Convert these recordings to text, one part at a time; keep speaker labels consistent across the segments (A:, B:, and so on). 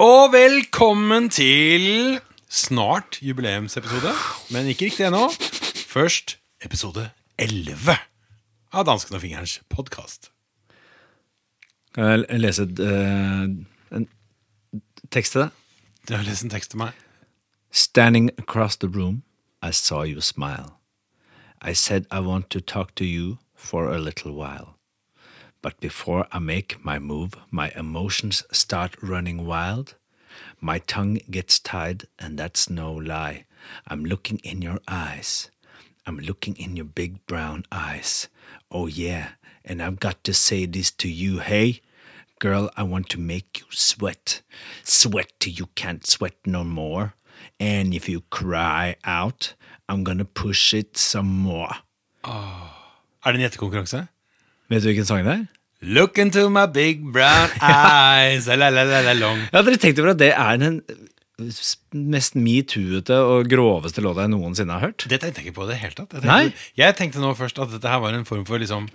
A: Og velkommen til snart jubileumsepisode, men ikke riktig ennå. Først episode 11 av Dansken og fingerens podkast.
B: Kan jeg l- lese et, eh, en tekst til deg?
A: Du har lest en tekst til meg.
B: Standing across the room, I saw you smile. I said I want to talk to you for a little while. But before I make my move, my emotions start running wild. My tongue gets tied, and that's no lie. I'm looking in your eyes. I'm looking in your big brown eyes. Oh, yeah, and I've got to say this to you, hey? Girl, I want to make you sweat. Sweat till you can't sweat no more. And if you cry out, I'm gonna push it some more.
A: Er det en gjettekonkurranse?
B: Vet du hvilken sang det er?
A: Look into my big brown eyes la, la, la, la, long.
B: Ja, dere tenkte over at det er den mest metoo-ete og groveste låta jeg noensinne har hørt?
A: Det tenkte jeg ikke på i det hele tatt. Jeg tenkte,
B: Nei.
A: jeg tenkte nå først at dette her var en form for liksom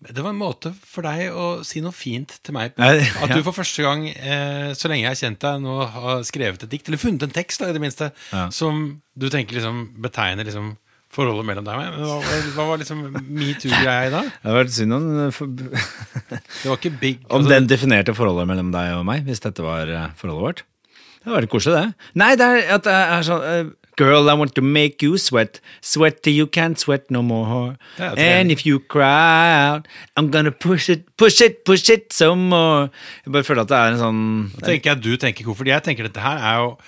A: Det var en måte for deg å si noe fint til meg på.
B: Nei,
A: At du
B: ja.
A: for første gang, eh, så lenge jeg har kjent deg, nå har skrevet et dikt, eller funnet en tekst, da, i det minste,
B: Ja.
A: som du tenker liksom betegner liksom forholdet mellom deg og meg. Men Hva, var- hva var liksom metoo-greia i dag?
B: Det hadde vært synd om, for,
A: Det var ikke big
B: om
A: altså,
B: den definerte forholdet mellom deg og meg, hvis dette var eh, forholdet vårt. Det hadde vært koselig, det. Nei, det er at det er sånn eh, Girl, I want to make you sweat. Sweat till you can't sweat no more.
A: Det er jo trening.
B: And if you cry out, I'm gonna push it, push it, push it some more. Jeg bare føler at det er en sånn
A: tenker jeg du tenker hvorfor. Jeg tenker dette her er jo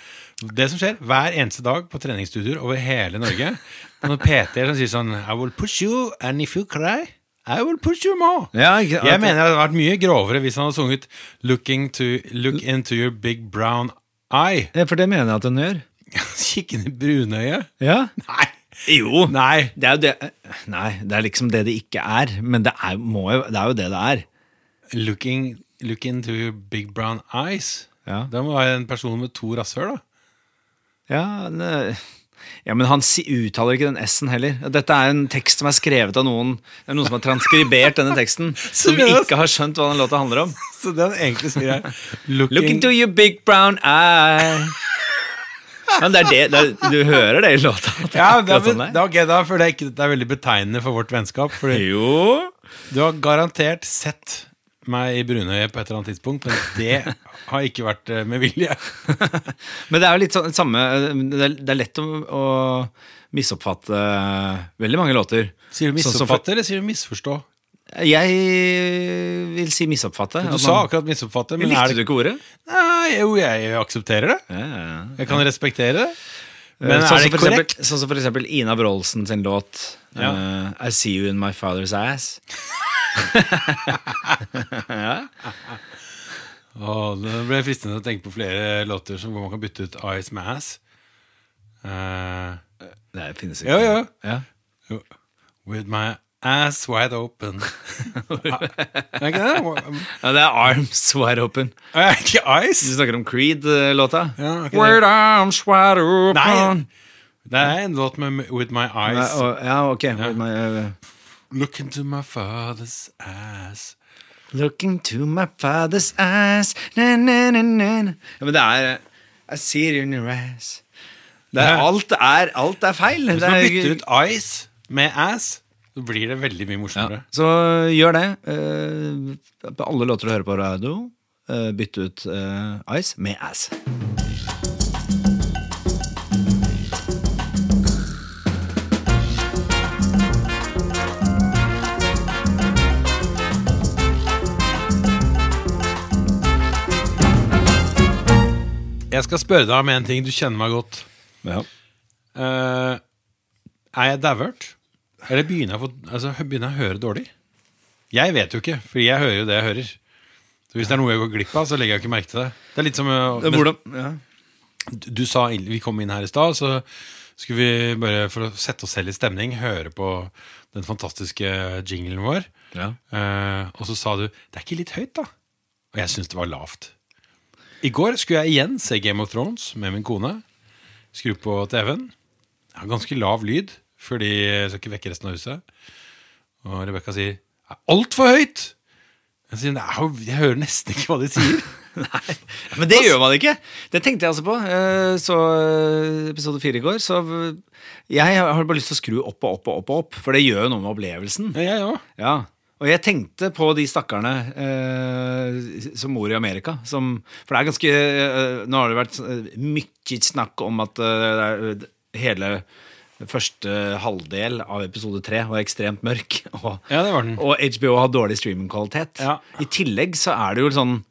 A: det som skjer hver eneste dag på treningsstudioer over hele Norge. Det er Noen PT-er som sier sånn I will push you, and if you cry, I will push you more.
B: Ja, ikke- at-
A: jeg mener det hadde vært mye grovere hvis han hadde sunget Looking to, Look into your big brown eye.
B: Ja, For det mener jeg at hun gjør.
A: Kikk inn i brunøyet.
B: Ja.
A: Nei.
B: Jo.
A: Nei.
B: Det er jo det Nei, det er liksom det det ikke er, men det er, må jo, det er jo det det er.
A: Looking, look into your big brown eyes.
B: Ja.
A: Det må være en person med to rasshøl, da.
B: Ja, ne, ja men han si, uttaler ikke den S-en heller. Dette er en tekst som er skrevet av noen Det er noen som har transkribert denne teksten, som
A: Seriøst?
B: ikke har skjønt hva den låta handler om.
A: Så den egentlig sier jeg
B: Look into your big brown eye. Ja, men det er det, det er, Du hører det i låta? at det er
A: Ja, da,
B: akkurat
A: men,
B: sånn det er.
A: da, ok, da føler jeg ikke dette er veldig betegnende for vårt vennskap. Fordi
B: Jo
A: du har garantert sett meg i brunøyet på et eller annet tidspunkt, men det har ikke vært eh, med vilje.
B: Men det er jo litt sånn samme Det er, det er lett å, å misoppfatte veldig mange låter.
A: Sier du
B: Sånn som for-
A: misoppfatte, eller sier du misforstå?
B: Jeg vil si misoppfatte.
A: Du sa akkurat misoppfatte, men
B: Likte
A: er
B: du
A: det
B: ikke ordet?
A: Nei, jo, jeg aksepterer det.
B: Ja, ja, ja.
A: Jeg kan respektere det. Men
B: sånn
A: er
B: som
A: det
B: for
A: korrekt?
B: Eksempel, sånn som for eksempel Ina Wroldsen sin låt
A: Ja.
B: eh, I See You In My Father's Ass.
A: Åh, det ble fristende å tenke på flere låter som hvor man kan bytte ut eyes med ass. Eh,
B: Det finnes ikke.
A: Ja, ja.
B: Ja.
A: with my ass wide open. Ah. er ikke det?
B: Ja, det er Arms Wide Open.
A: Er det ikke eyes?
B: Du snakker om Creed-låta.
A: Ja, ok.
B: Where arms wide open
A: Nei, det er en låt med With My
B: Nei,
A: Eyes.
B: å, Ja, ok. My, eh,
A: Look into my father's ass.
B: Looking to my father's eyes na, na, na, na. na. Ja, men det er eh, I see it in your ass. Det er,
A: Ja.
B: alt, er, alt er feil.
A: Hvis
B: Det
A: man
B: er-
A: bytter ut eyes med ass, så blir det veldig mye morsommere.
B: Så gjør det. eh, På alle låter du hører på radio, eh, bytt ut eh, Ice med Ass.
A: Jeg skal spørre deg om en ting. Du kjenner meg godt.
B: Ja.
A: Eh, er jeg dauert? Eller begynner jeg, å få, altså, hø- begynner jeg å høre dårlig? Jeg vet jo ikke, for jeg hører jo det jeg hører. Så Hvis det er noe jeg går glipp av, så legger jeg ikke merke til det. Det er litt som eh, men-
B: Hvordan ja.
A: du sa inn- Vi kom inn her i stad, så skulle vi bare for å sette oss selv i stemning høre på den fantastiske jinglen vår.
B: Ja.
A: Eh, og så sa du 'det er ikke litt høyt', da? Og jeg syns det var lavt. I går skulle jeg igjen se Game of Thrones med min kone. Skru på TV-en. Jeg har ganske lav lyd, fordi jeg skal ikke vekke resten av huset. Og Rebekka sier 'det er altfor høyt'. Jeg sier, det er jo, jeg hører nesten ikke hva de sier.
B: Nei, men det gjør man ikke. Det tenkte jeg altså på. eh, Så eh, episode fire i går. Så v- jeg har bare lyst til å skru opp og opp og opp, og opp for det gjør jo noe med opplevelsen.
A: Ja, jeg òg.
B: Ja. Og jeg tenkte på de stakkarene eh, som bor i Amerika. Som, for det er ganske eh, Nå har det vært eh, mye snakk om at eh, det er- hele første halvdel av episode tre var ekstremt mørk. Og,
A: Ja, det var den.
B: og HBO har dårlig streamingkvalitet.
A: Ja.
B: I tillegg så er det jo sånn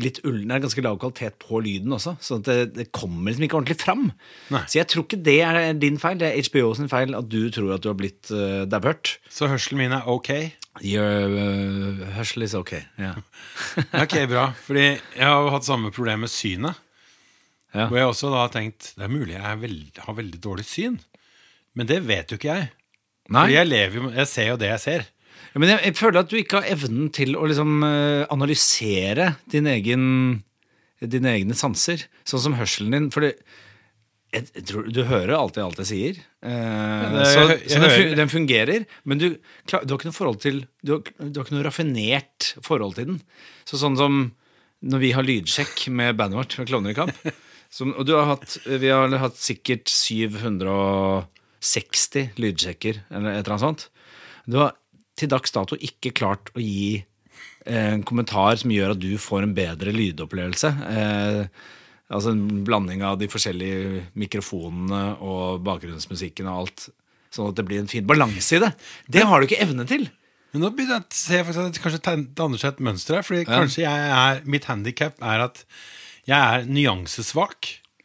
B: litt ullen, det er ganske lav kvalitet på lyden også, så det, det kommer liksom ikke ordentlig fram.
A: Nei.
B: Så jeg tror ikke det er din feil, det er HBO sin feil at du tror at du har blitt uh, dauhørt.
A: Så hørselen min er ok.
B: Your uh, hørsel is ok. Ja.
A: Ok, bra. Fordi jeg har jo hatt samme problem med synet.
B: Ja.
A: Hvor jeg også da har tenkt det er mulig jeg er veld, har veldig dårlig syn. Men det vet jo ikke jeg.
B: Nei,
A: Fordi jeg,
B: jeg,
A: lever, jo- jeg ser jo det jeg ser.
B: men jeg, jeg føler at du ikke har evnen til å liksom eh, analysere din egen, dine egne sanser, sånn som hørselen din. For det, jeg, jeg tror, du hører alltid alt jeg sier, eh,
A: det- jeg
B: så,
A: hø- jeg
B: så den,
A: hører-
B: fu- den fungerer, men du, klar, du har ikke noe forhold til du har, du har ikke noe raffinert forhold til den. Så sånn som når vi har lydsjekk med bandet vårt med Klovner i kamp, som, og du har hatt, vi har hatt sikkert 760 lydsjekker, eller et eller annet sånt. Du har til dags dato ikke klart å gi eh, en kommentar som gjør at du får en bedre lydopplevelse. Eh, altså en blanding av de forskjellige mikrofonene og bakgrunnsmusikken og alt. Sånn at det blir en fin balanse i det. Det har du ikke evne til.
A: Men nå begynner jeg å se faktisk at det kanskje tegn- danner seg et mønster her. Fordi kanskje jeg er, mitt handikap er at jeg er nyansesvak.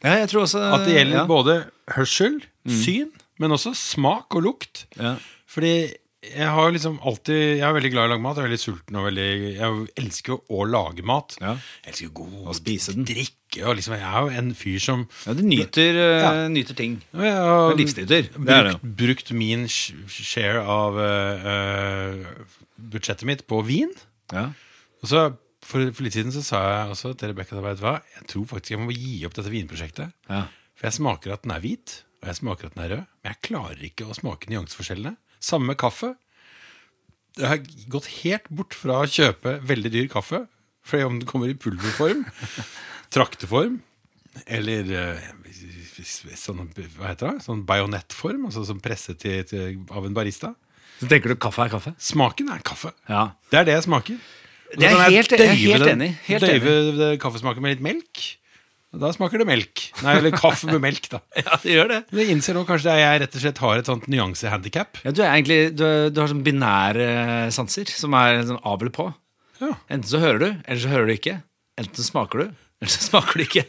B: Ja, jeg tror også
A: At det gjelder
B: Eh, ja. Mm.
A: både hørsel, syn, men også smak og lukt.
B: Ja.
A: Fordi jeg har jo liksom alltid Jeg er veldig glad i å lage mat. Jeg er veldig sulten og veldig Jeg elsker jo å lage mat.
B: Ja.
A: Jeg elsker jo
B: Å
A: god
B: spise den.
A: drikke og liksom Jeg er jo en fyr som
B: Ja, du nyter, eh,
A: Ja.
B: nyter ting.
A: og jeg har
B: Det er livsnyter. Det er det.
A: Brukt, brukt min sh- share av eh, eh, budsjettet mitt på vin.
B: Ja.
A: Og så for, for litt siden så sa jeg også til Rebekka at jeg tror faktisk jeg må gi opp dette vinprosjektet.
B: Ja.
A: For jeg smaker at den er hvit, og jeg smaker at den er rød. Men jeg klarer ikke å smake nyanseforskjellene. Samme med kaffe. Jeg har gått helt bort fra å kjøpe veldig dyr kaffe. For om den kommer i pulverform, trakteform eller eh, sånn, hva heter det? sånn bajonettform, altså som presset til, til, av en barista.
B: Så tenker du kaffe er kaffe?
A: Smaken er kaffe.
B: Ja.
A: Det er det jeg smaker. Og
B: Det er
A: da kan
B: helt- jeg er
A: døyve
B: helt
A: den-
B: enig, helt
A: døyve det kaffesmaken med litt melk. Og Da smaker det melk. Nei, eller kaffe med melk, da.
B: Ja, det gjør det.
A: Men Jeg innser nå kanskje at jeg rett og slett har et sånt nyansehandikap.
B: Ja, du, er egentlig, du, du har sånn binære sanser som er sånn av eller på.
A: Ja.
B: Enten så hører du, eller så hører du ikke. Enten så smaker du, eller så smaker du ikke.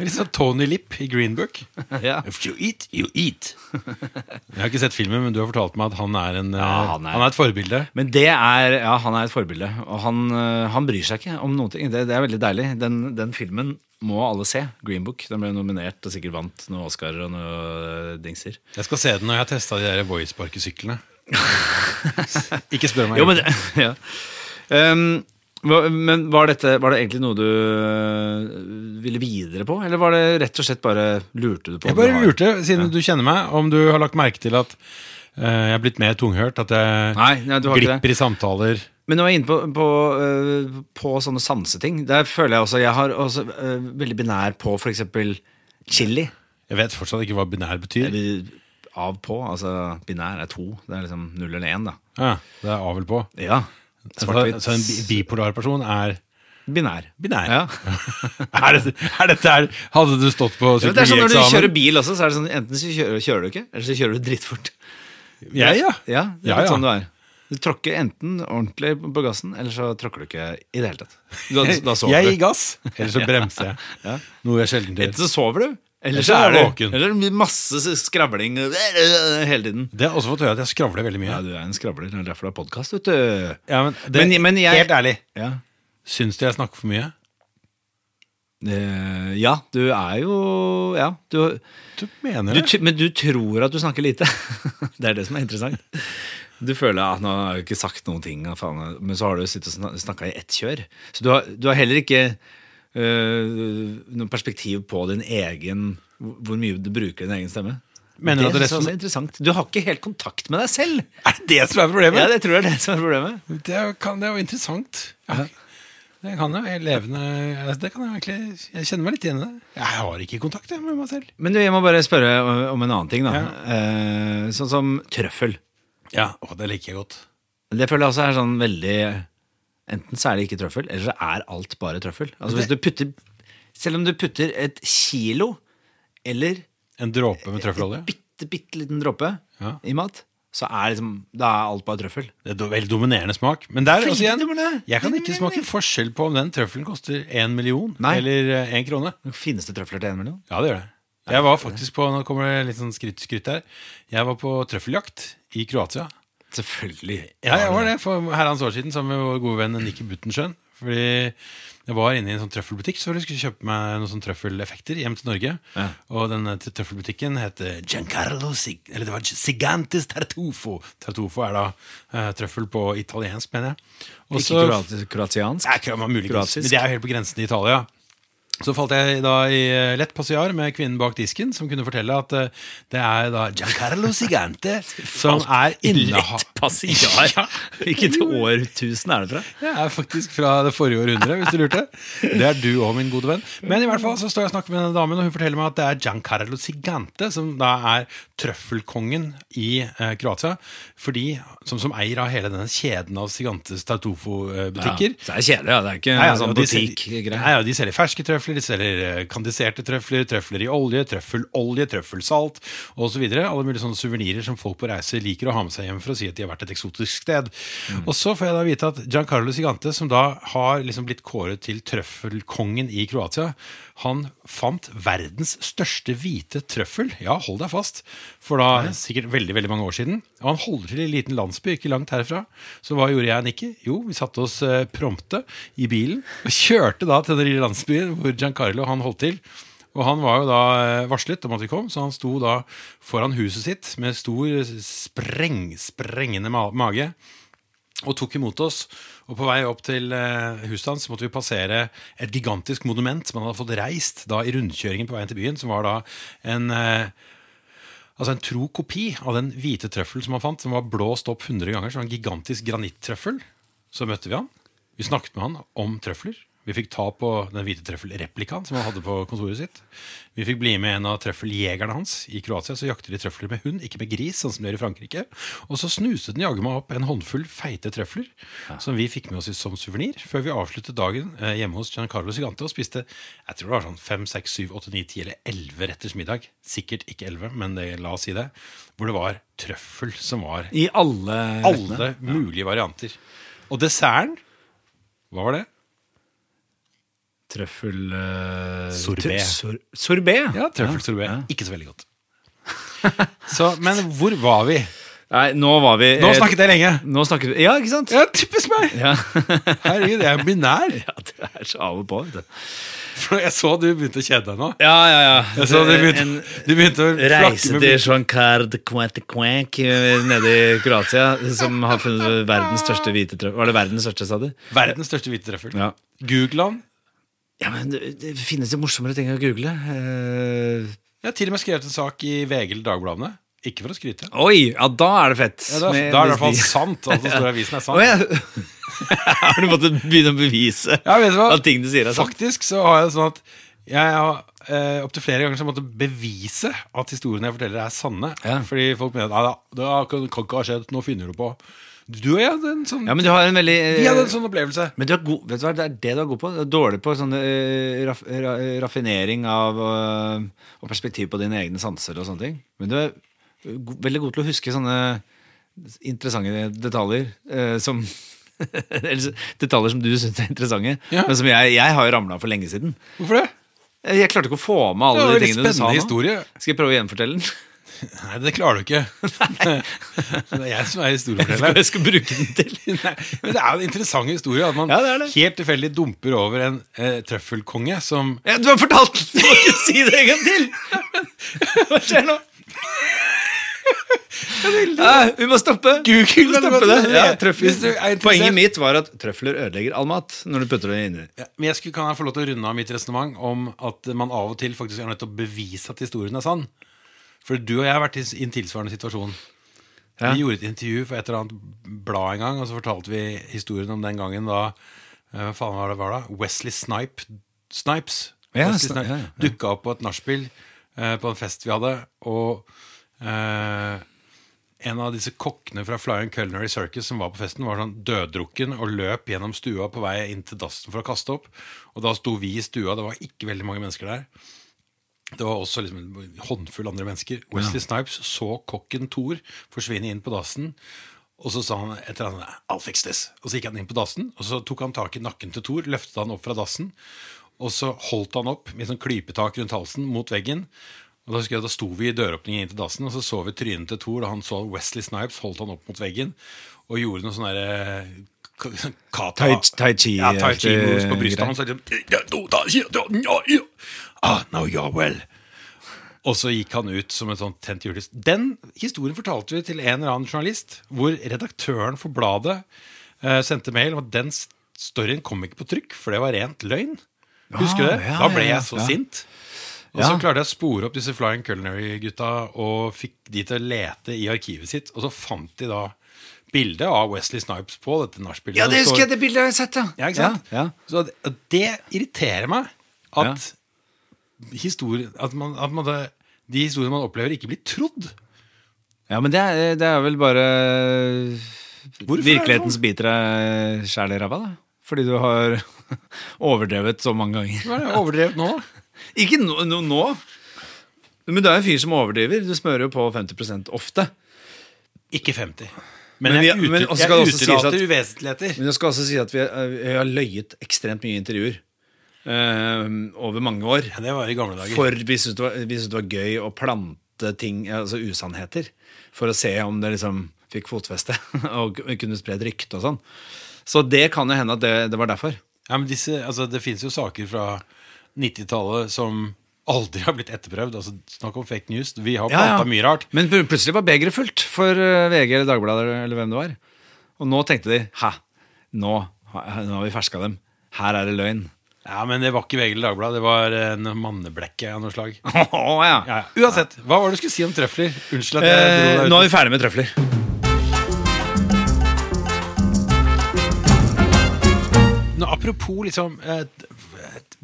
A: Litt sånn Tony Lipp i Green Book.
B: ja.
A: If you eat, you eat. Jeg har ikke sett filmen, men du har fortalt meg at han er, en, eh,
B: Ja,
A: han,
B: han
A: er.
B: er-
A: et forbilde.
B: Men det er, ja, han er et forbilde, og han, øh, han bryr seg ikke om noen ting. Det, det er veldig deilig. Den, den filmen må alle se. Green Book. Den ble nominert og sikkert vant noen Oscarer og noen øh, dingser.
A: Jeg skal se den når jeg har testa de der Voice-sparkesyklene. ikke spør meg.
B: Jo, men det, ja. Ehm, hva- men var, dette, var det egentlig noe du øh, ville videre på, eller var det rett og slett bare lurte du på?
A: jeg
B: om du
A: bare
B: har-
A: lurte, siden du kjenner meg, om du har lagt merke til at eh, jeg er blitt mer tunghørt, at jeg
B: Nei, nei, du har ikke det.
A: glipper i samtaler.
B: Men nå er jeg inne på, på, øh, på sånne sanseting. Der føler jeg også Jeg har også øh, veldig binær på for eksempel chili.
A: Jeg vet fortsatt ikke hva binær betyr.
B: Eller av på. Altså binær er to. Det er liksom null eller én, da.
A: Ja, det er avel på.
B: Ja.
A: Så,
B: Svart-hvitt.
A: så en bi- bipolar person er
B: Binær.
A: Binær.
B: Ja.
A: er det, er dette her, hadde du stått på
B: Ja, men det er sånn Når du kjører
A: psykologieksamen?
B: bil også, så er det sånn enten så kjører, kjører du ikke, eller så kjører du dritfort.
A: Ja, ja.
B: Ja, det er
A: Ja,
B: litt
A: ja.
B: sånn du er. Du tråkker enten ordentlig på gassen, eller så tråkker du ikke i det hele tatt. Da, da sover
A: Jeg
B: du.
A: gir gass, eller så bremser jeg. Noe jeg sjelden
B: Enten
A: gjør.
B: så sover du, eller
A: Eller
B: så
A: så
B: er
A: er du
B: du
A: våken.
B: Eller det blir masse skravling øh, hele tiden.
A: Det har også fått høre at jeg skravler veldig mye.
B: Ja, du er en skravler. Det er derfor du har podkast, vet du.
A: Ja, men det,
B: Men- men jeg-
A: helt ærlig,
B: Ja.
A: syns du jeg snakker for mye?
B: Eh, ja, du er jo Ja. Du,
A: Du mener
B: du,
A: det?
B: tr- men du tror at du snakker lite. det er det som er interessant. Du føler at 'nå har jeg ikke sagt noen ting', ja, faen, men så har du sittet og snakka i ett kjør. Så du har, du har heller ikke øh, noe perspektiv på din egen hvor hvor mye du bruker din egen stemme.
A: Mener du at
B: det
A: det
B: synes jeg også er interessant. Du har ikke helt kontakt med deg selv.
A: Er det det som er
B: Ja,
A: problemet?
B: det tror jeg er det som er problemet.
A: Det er jo, kan, det er jo interessant. Ja. Det kan jo være levende altså, det kan jeg, egentlig, jeg kjenner meg litt igjen i det. Jeg har ikke kontakt jeg, med meg selv.
B: Men du, jeg må bare spørre ø, om en annen ting, da. Eh, sånn som trøffel.
A: Ja, å, Det liker jeg godt.
B: Det føler jeg også er sånn veldig Enten så er det ikke trøffel, eller så er alt bare trøffel. Altså hvis du putter Selv om du putter et kilo eller
A: En dråpe med trøffelolje.
B: bitte, bitte liten dråpe
A: Ja.
B: i mat, så er liksom Da er alt bare trøffel.
A: Det er do- veldig dominerende smak. Men der,
B: Veldig
A: altså, igjen,
B: dominerende.
A: jeg kan ikke smake forskjell på om den trøffelen koster én million
B: Nei.
A: eller eh, én krone.
B: Finnes det trøfler til en million?
A: Ja, det gjør det. Jeg var faktisk på, Nå kommer det litt sånn skritt, skritt her. Jeg var på trøffeljakt i Kroatia.
B: Selvfølgelig.
A: Ja, jeg var det for herrens år siden sammen med vår gode venn Nikki Buttensjøen. Fordi jeg var inne i en sånn trøffelbutikk så jeg skulle kjøpe meg noen sånn trøffeleffekter hjem til Norge.
B: Ja.
A: Og den eh, trøffelbutikken heter Giancarlo Sig Eller det var Gigantes Tartufo. Tartufo er da eh, trøffel på italiensk, mener jeg. Og
B: Ikke
A: så-
B: kroati- kroatiansk?
A: Nei, kro- muligens.
B: Kroatisk.
A: Men det er jo helt på grensen til Italia. Så falt jeg da i eh, lett passiar med kvinnen bak disken, som kunne fortelle at eh, det er da Giancarlo Sigante som er inneha...
B: Lett passiar.
A: Ja.
B: Hvilket årtusen er det fra?
A: Jeg er faktisk fra det forrige århundret, hvis du lurte. Det er du òg, min gode venn. Men i hvert fall så står jeg og snakker med denne damen, og hun forteller meg at det er Giancarlo Sigante, som da er trøffelkongen i eh, Kroatia, fordi, som, som eier av hele denne kjeden av eh, Sigantes Tartufo-butikker.
B: Så det er kjedelig, ja. Det er ikke
A: Nei, ja,
B: sånn
A: og de selger-
B: butikk-greie.
A: Nei, ja, de selger ferske trøfler, de selger eh, kandiserte trøfler, trøfler i olje, trøffelolje, trøffelsalt osv. Alle mulige sånne suvenirer som folk på reise liker å ha med seg hjem for å si at de har vært et eksotisk sted. Og så får jeg da vite at Giancarlo Sigante, som da har liksom blitt kåret til trøffelkongen i Kroatia, han fant verdens største hvite trøffel, ja, hold deg fast, for da sikkert veldig, veldig mange år siden. Og han holder til i en liten landsby, ikke langt herfra. Så hva gjorde jeg og Nikki? Jo, vi satte oss eh, prompte i bilen og kjørte da til den lille landsbyen hvor Giancarlo han holdt til. Og han var jo da eh, varslet om at vi kom, så han sto da foran huset sitt med stor spreng, sprengende ma mage og tok imot oss. Og på vei opp til eh, huset hans måtte vi passere et gigantisk monument som han hadde fått reist da i rundkjøringen på veien til byen, som var da en eh, Altså en tro kopi av den hvite trøffel som han fant, som var blåst opp 100 ganger. Så det var en gigantisk granittrøffel. Så møtte vi han. Vi snakket med han om trøfler. Vi fikk ta på den hvite trøffelreplikaen som han hadde på kontoret sitt. Vi fikk bli med en av trøffeljegerne hans. I Kroatia så jakter de trøfler med hund, ikke med gris, sånn som de gjør i Frankrike. Og så snuste den jaggu meg opp en håndfull feite trøfler, som vi fikk med oss som suvenir, før vi avsluttet dagen eh, hjemme hos Giancarlo Sigante og spiste jeg tror det var sånn 5, 6, 7, 8, 9, 10 eller 11 retters middag. Sikkert ikke 11, men det, la oss si det. Hvor det var trøffel som var
B: I alle rettene.
A: alle mulige varianter. Og desserten, hva var det?
B: Trøffel eh,
A: Sorbet.
B: tr- sor- Sorbet?
A: Ja, trøffelsorbet.
B: Ja, ja.
A: Ikke så veldig godt. Så, men hvor var vi?
B: Nei, nå var vi
A: Nå snakket jeg lenge.
B: Nå snakket vi Ja, ikke sant?
A: Ja, typisk meg!
B: Ja.
A: Herregud, jeg blir nær.
B: Ja, det er så av og på. vet du.
A: For jeg så du begynte å kjede deg nå.
B: Ja, ja, ja.
A: Jeg så du begynte,
B: Eh, en
A: du begynte å
B: reise
A: flakke med
B: til Jean-Claude de Quantequank nede i Kroatia, som har funnet verdens største hvite trøffel. Var det verdens største, sa du?
A: Verdens største hvite trøffel.
B: Ja.
A: Google han.
B: Ja, men det, det finnes jo morsommere ting å google. Eh,
A: Jeg har til og med skrevet en sak i VG eller Dagbladene. Ikke for å skryte.
B: oi! Ja, da er det fett.
A: Ja, da, da er det
B: Med-
A: i hvert fall
B: hvis de-
A: sant. Alt som står i avisen, er
B: Å,
A: sant.
B: ja. Har du måttet begynne å bevise
A: Ja, vet du hva?
B: at ting du sier, er sant?
A: Faktisk så har jeg det sånn at jeg har eh, opptil flere ganger så måtte bevise at historiene jeg forteller, er sanne.
B: Ja.
A: Fordi folk mener at «Nei da, det kan kan ikke ha skjedd, nå finner du på. Du og jeg hadde en sånn,
B: Ja, men du har en veldig eh,
A: vi hadde en sånn opplevelse.
B: Men du er god, vet du hva, det er det du er god på. Du er dårlig på sånne, eh, raff, ra, raffinering av eh, og perspektiv på dine egne sanser og sånne ting. Men du er eh, go veldig god til å huske sånne interessante detaljer eh, som Eller så- detaljer som du syns er interessante,
A: Ja.
B: men som jeg, jeg har jo ramla for lenge siden. Eh,
A: Hvorfor det?
B: Jeg klarte ikke å få med
A: Det var
B: alle de
A: en
B: tingene du
A: spennende
B: sa nå.
A: historie.
B: Skal jeg prøve å gjenfortelle den?
A: Nei, det klarer du ikke. det er jeg som er
B: Hva
A: historieforteller.
B: jeg skal bruke den til?
A: Nei, men det er jo en interessant historie at man
B: Ja, det er det.
A: helt tilfeldig dumper over en eh, trøffelkonge som
B: Ja, du har fortalt den! Du må ikke si det en gang til! Hva skjer nå? Nei, vi må stoppe. Vi må
A: Google
B: stoppe det. Ja, trøffel.
A: Hvis du er interessert-
B: Poenget mitt var at trøfler ødelegger all mat når du putter det inni.
A: Ja, Men jeg skulle, kan jeg få lov til å runde av mitt resonnement om at man av og til faktisk er nødt til å bevise at historien er sann. For du og jeg har vært i s- i en tilsvarende situasjon.
B: Ja.
A: Vi gjorde et intervju for et eller annet blad en gang, og så fortalte vi historien om den gangen da eh, Hva faen var det var da? Wesley Snipe, Snipes
B: Ja,
A: Wesley
B: Sni- ja, ja.
A: Dukka opp på et nachspiel eh, på en fest vi hadde, og eh, en av disse kokkene fra Flying Culinary Circus som var på festen, var sånn døddrukken og løp gjennom stua på vei inn til dassen for å kaste opp. Og da sto vi i stua, det var ikke veldig mange mennesker der. Det var også liksom en håndfull andre mennesker. Wesley Snipes så kokken Thor forsvinne inn på dassen. Og så sa han et eller annet, I'll fix this. Og så gikk han inn på dassen, og så tok han tak i nakken til Thor, løftet han opp fra dassen, og så holdt han opp med sånn klypetak rundt halsen mot veggen. Og da, husker jeg, da sto vi i døråpningen inn til dassen, og så så vi trynet til Thor, og han så Wesley Snipes, holdt han opp mot veggen, og gjorde noe sånn derre Kata.
B: Tai- tai chi-
A: Ja, tai chi moves på
B: greier.
A: brystet hans. og liksom, Ah, now you're well. Og så gikk han ut som en sånn tent julelys. Den historien fortalte vi til en eller annen journalist, hvor redaktøren for bladet eh, sendte mail om at den s- storyen kom ikke på trykk, for det var rent løgn. Husker du det?
B: Ah, ja,
A: da ble
B: ja, ja,
A: jeg så
B: ja.
A: sint. Og
B: Ja.
A: så klarte jeg å spore opp disse Flying Culinary-gutta og fikk de til å lete i arkivet sitt, og så fant de da bildet av Wesley Snipes på dette nachspielet.
B: Ja, det
A: Så-
B: husker jeg, det bildet har jeg sett, ja.
A: ja, ikke sant?
B: Ja,
A: Så det, og det irriterer meg at historier At, man, at man, det- de historiene man opplever, ikke blir trodd.
B: ja. ja men det er, det er vel bare
A: Hvorfor er det
B: Virkelighetens biter deg sjæl i ræva, da. Fordi du har overdrevet så mange ganger.
A: Hva er det overdrevet nå? da?
B: Ikke nå, nå, nå. Men du er jo en fyr som overdriver. Du smører jo på 50 ofte.
A: Ikke 50. Men,
B: Men
A: jeg,
B: vi- men
A: ute-
B: også
A: jeg
B: skal det også sies
A: utelater
B: at-
A: uvesentligheter.
B: Men jeg skal også si at vi, er- eh, vi har løyet ekstremt mye i intervjuer eh, over mange år.
A: Ja, det var i gamle dager.
B: For vi syntes det, var- vi syntes det var gøy å plante ting, altså usannheter, for å se om det liksom fikk fotfeste og kunne spre et rykte og sånn. Så det kan jo hende at det, det var derfor.
A: Ja, men disse, altså, det fins jo saker fra 90-tallet som aldri har blitt etterprøvd. Altså, snakk om fake news. Vi har planta mye rart.
B: Men pl- plutselig var begeret fullt for eh, VG eller Dagbladet eller- eller hvem det var. Og nå tenkte de hæ, nå, har- nå har vi ferska dem. Her er det løgn.
A: Ja, Men det var ikke VG eller Dagbladet. Det var en manneblekke av noe slag.
B: Å ja.
A: Ja, ja. Uansett, hva var det du skulle si om trøfler? Unnskyld at jeg dro
B: Eh,
A: deg ut.
B: nå er vi ferdig med trøfler.
A: Nå, apropos liksom et, et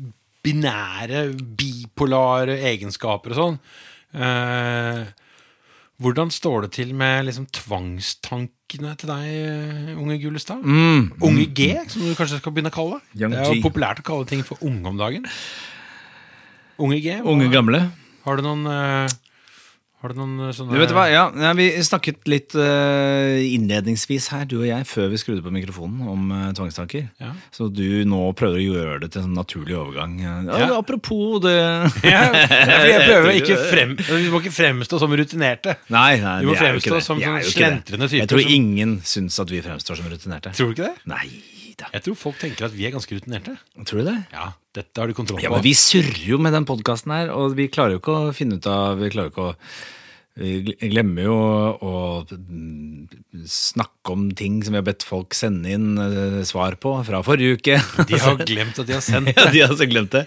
A: binære, bipolare egenskaper og sånn. Eh, hvordan står det til med liksom tvangstankene til deg, eh, unge Gullestad? Unge G, som du kanskje skal begynne å kalle det.
B: Mm. Young
A: Det er jo
B: G.
A: populært å kalle ting for unge om dagen. Unge G, hva-
B: Unge gamle.
A: har du noen eh, Har du noen eh, sånne
B: Du vet hva, ja, ja, Vi snakket litt eh, innledningsvis her, du og jeg, før vi skrudde på mikrofonen, om eh, tvangstanker.
A: Ja.
B: Så du nå prøver å gjøre det til en sånn naturlig overgang. Ja,
A: Ja.
B: Apropos det
A: Ja, for jeg prøver å ikke frem, Vi må ikke fremstå som rutinerte.
B: Nei, nei,
A: Vi må
B: vi er jo
A: fremstå
B: ikke det.
A: som
B: Vi er
A: sånne
B: jo ikke det.
A: slentrende typer
B: Jeg tror
A: som-
B: ingen syns at vi fremstår som rutinerte.
A: Tror du ikke det?
B: Nei da.
A: Jeg tror folk tenker at vi er ganske rutinerte.
B: Tror du det?
A: Ja, dette har du kontroll på.
B: Ja, men vi surrer jo med den podkasten her, og vi klarer jo ikke å finne ut av Vi klarer jo ikke å vi gl- glemmer jo å mm, snakke om ting som vi har bedt folk sende inn eh, svar på fra forrige uke.
A: De har glemt at de har sendt
B: ja, de har så glemt det.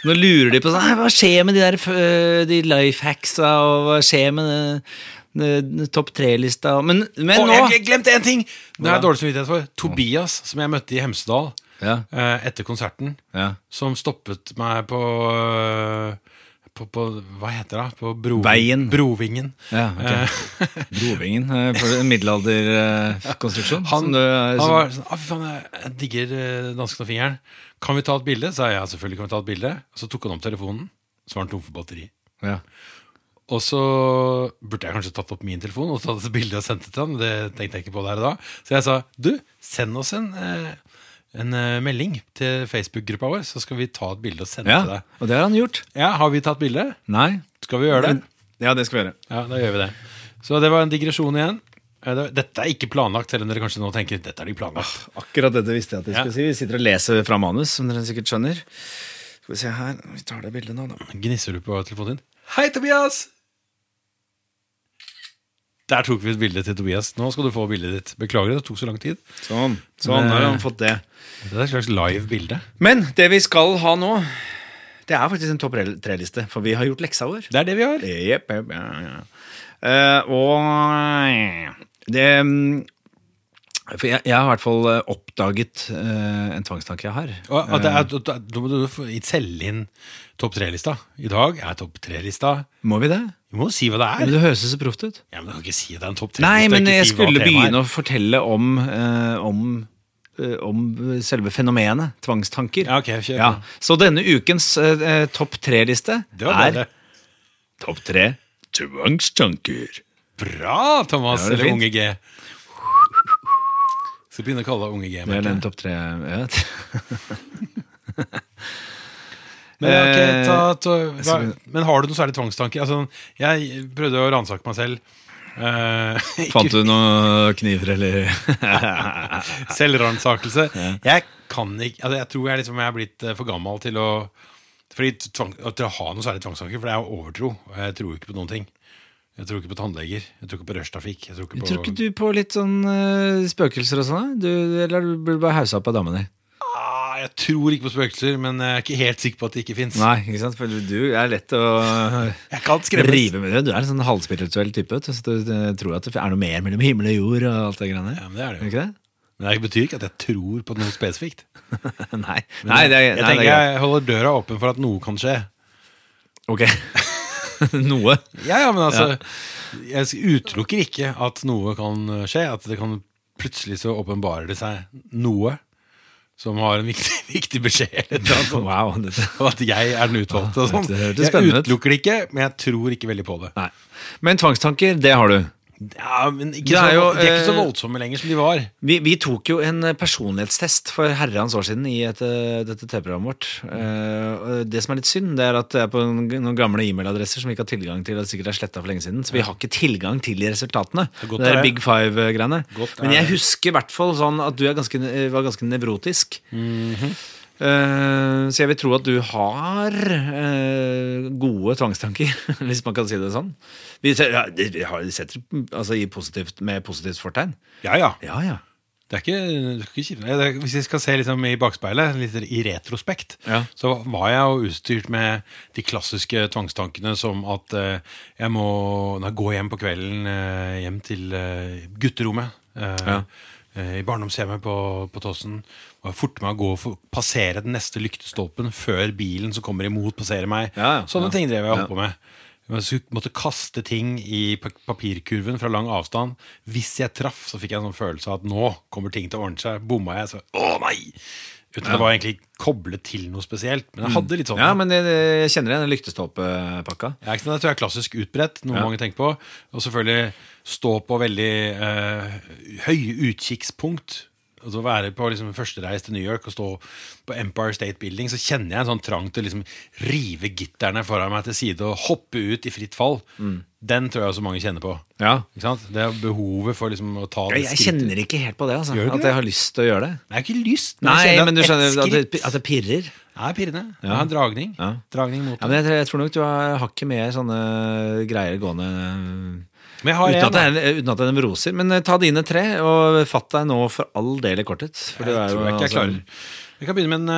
B: Så nå lurer de på sånn, «Nei, hva skjer med de der f- eh, de life hacksa, og hva skjer med den- den topp tre-lista Men, men
A: Å,
B: nå
A: jeg glemte én ting! Det har jeg dårlig samvittighet for. Tobias, som jeg møtte i Hemsedal
B: Ja.
A: eh, etter konserten,
B: Ja.
A: som stoppet meg på eh, på, på, hva heter det? På bro,
B: Veien.
A: Brovingen.
B: Ja, ok.
A: Eh,
B: Brovingen, eh, for en middelalderkonstruksjon.
A: han,
B: som du er-
A: han var sånn ah, fy faen, jeg- jeg digger eh, dansken og fingeren. Kan vi ta et bilde? sa jeg. Ja, selvfølgelig kan vi ta et bilde. Så tok han opp telefonen, så var den tom for batteri.
B: ja.
A: Og så burde jeg kanskje tatt opp min telefon og tatt et bilde og sendt det til ham. Det tenkte jeg ikke på der og da. Så jeg sa du, send oss en, eh, en eh, melding til Facebook-gruppa vår, så skal vi ta et bilde og sende
B: Ja,
A: til deg.
B: og det har han gjort.
A: Ja, Har vi tatt bilde?
B: Nei.
A: Skal vi gjøre det?
B: Ja, det skal vi gjøre.
A: Ja, da gjør vi det. Så det var en digresjon igjen. Eh, det- Dette er ikke planlagt, selv om dere kanskje nå tenker dette er de planlagt.
B: Akkurat dette visste jeg at jeg
A: Ja.
B: skulle si. Vi sitter og leser fra manus, som dere sikkert skjønner. Skal vi se her, vi tar det bildet nå, da.
A: Gnisser du på telefonen din? Hei, Tobias! Der tok vi et bilde til Tobias. Nå skal du få bildet ditt. Beklager, det tok så lang tid.
B: Sånn, sånn har han fått det.
A: Det er et slags live bilde.
B: Men det vi skal ha nå, det er faktisk en topp tre-liste, for vi har gjort leksa vår.
A: Det er det vi har.
B: Jepp, jepp, ja, ja. Eh, og det mm, For jeg, jeg har i hvert fall eh, oppdaget eh, en tvangstanke jeg har.
A: Og, og
B: Eh.
A: det er, da- da må du få- selge inn topp tre-lista. I dag er topp tre-lista
B: Må vi det?
A: Du må jo si hva det er.
B: Men det høres jo så proft ut.
A: Ja, men Du kan ikke si at det er en topp tre-liste.
B: Nei,
A: og
B: men
A: ikke
B: jeg
A: si hva
B: skulle
A: temaet er.
B: begynne å fortelle om, eh, om, eh, om selve fenomenet tvangstanker.
A: Ja, ok, kjør på.
B: Ja, Så denne ukens eh, eh, topp tre-liste
A: Det var
B: er
A: bare
B: Topp tre tvangstanker.
A: bra, Thomas,
B: Ja, det er
A: eller
B: fint.
A: Unge G. Skal begynne å kalle deg Unge G.
B: Det
A: merker
B: er
A: jeg.
B: den topp tre ja.
A: Men, ok, ta, ta, hva,
B: Eh, skal
A: men har du noen særlige tvangstanker? Altså, jeg prøvde å ransake meg selv. Uh,
B: Fant du noen kniver, eller?
A: Selvransakelse. Jeg kan ikke altså, Jeg tror jeg liksom jeg er blitt eh, for gammel til å fordi tvang, at Til å ha noe særlig tvangstanker, for det er jo overtro. og Jeg tror jo ikke på noen ting. Jeg tror ikke på tannleger. Jeg tror ikke på rushtrafikk. Jeg tror ikke på
B: Tror ikke du på litt sånn eh, spøkelser og sånn? da? Du- Eller blir du bare hausa opp av damene?
A: ah, Jeg tror ikke på spøkelser, men jeg er ikke helt sikker på at det ikke fins.
B: Nei, ikke sant? For du er lett å
A: Jeg kan skremmes.
B: rive med det. Du er en sånn halvspirituell type. vet du, Så du eh, tror at det er noe mer mellom himmel og jord og alt det greiene
A: Ja,
B: der.
A: men det er det jo.
B: Er det ikke det?
A: Men det betyr ikke at jeg tror på noe spesifikt.
B: Nei. Nei, det er,
A: jeg tenker
B: nei, det er greit.
A: jeg holder døra åpen for at noe kan skje.
B: Ok. Noe.
A: Ja, ja, men altså Jeg utelukker ikke at noe kan eh, skje. At det kan plutselig så åpenbarer det seg noe som har en viktig, viktig beskjed. Eller et eller annet sånt.
B: Wow. dette-
A: Og at jeg er den utvalgte. Og sånn.
B: Det hørtes
A: Jeg
B: spennende ut.
A: utelukker det ikke, men jeg tror ikke veldig på det.
B: Nei. Men tvangstanker, det har du.
A: Ja, men ikke
B: Det
A: så,
B: er jo,
A: de er ikke så
B: eh,
A: voldsomme lenger som de var.
B: Vi, vi tok jo en personlighetstest for herrens år siden i et, eh, dette TV-programmet vårt. Eh, og det som er litt synd, det er at det er på en- noen gamle e-mailadresser som vi ikke har tilgang til. og sikkert er slettet for lenge siden, Så vi har ikke tilgang til de resultatene.
A: er
B: Det
A: godt
B: der
A: det er.
B: Big Five-greiene.
A: Godt
B: Men
A: er
B: jeg
A: det.
B: husker i hvert fall sånn at du er ganske, eh, var ganske nevrotisk.
A: Mhm.
B: Eh, så jeg vil tro at du har eh, gode tvangstanker, hvis man kan si det sånn. Vi, ser- ja, det- vi har, setter altså, i positivt, med positivt fortegn.
A: Ja, ja.
B: Ja, ja.
A: Det er ikke, det er ikke kjipt. Nei, det er- Hvis jeg skal se liksom i bakspeilet, litt i retrospekt,
B: Ja.
A: så var jeg jo utstyrt med de klassiske tvangstankene som at eh, jeg må nei, gå hjem på kvelden, eh, hjem til eh, gutterommet. eh,
B: Ja.
A: eh, I barndomshjemmet på, på Tossen. Og forte meg å gå og få- passere den neste lyktestolpen før bilen som kommer imot, passerer meg.
B: Ja, ja.
A: Sånne
B: Ja.
A: ting drev jeg og
B: Ja.
A: holdt på med. Jeg skulle- måtte kaste ting i pa- papirkurven fra lang avstand. Hvis jeg traff, så fikk jeg en sånn følelse av at nå kommer ting til å ordne seg. Bomma jeg, så å nei! Uten at det var egentlig koblet til noe spesielt. Men jeg hadde litt sånn.
B: Mm. Ja, men jeg, jeg kjenner igjen den lyktestolpepakka.
A: Jeg er ikke sant, jeg tror jeg er klassisk utbredt, noe mange tenker på. Og selvfølgelig stå på veldig eh, høye utkikkspunkt. Altså være på liksom førstereis til New York og stå på Empire State Building, så kjenner jeg en sånn trang til å liksom rive gitterne foran meg til side og hoppe ut i fritt fall.
B: Mm.
A: Den tror jeg også mange kjenner på.
B: Ja.
A: Ikke sant? Det er behovet for liksom å ta det
B: Jeg, jeg
A: skrittet.
B: kjenner ikke helt på det, altså.
A: Gjør du ikke
B: At jeg har lyst til å gjøre det.
A: Det er jo ikke lyst.
B: Nei,
A: jeg kjenner at
B: men du
A: ett
B: skjønner at det,
A: skritt
B: at det pirrer.
A: er pirrende. Det er en dragning.
B: Ja.
A: Dragning mot
B: Ja,
A: det.
B: men jeg, jeg tror nok du har hakket mer sånne greier gående
A: Men jeg har
B: uten at,
A: en, da.
B: det er, uten at det er nevroser. Men eh, ta dine tre, og fatt deg nå for all del i korthet. For du
A: Jeg
B: er jo
A: tror jeg ikke jeg
B: altså-
A: klarer. Jeg kan begynne med den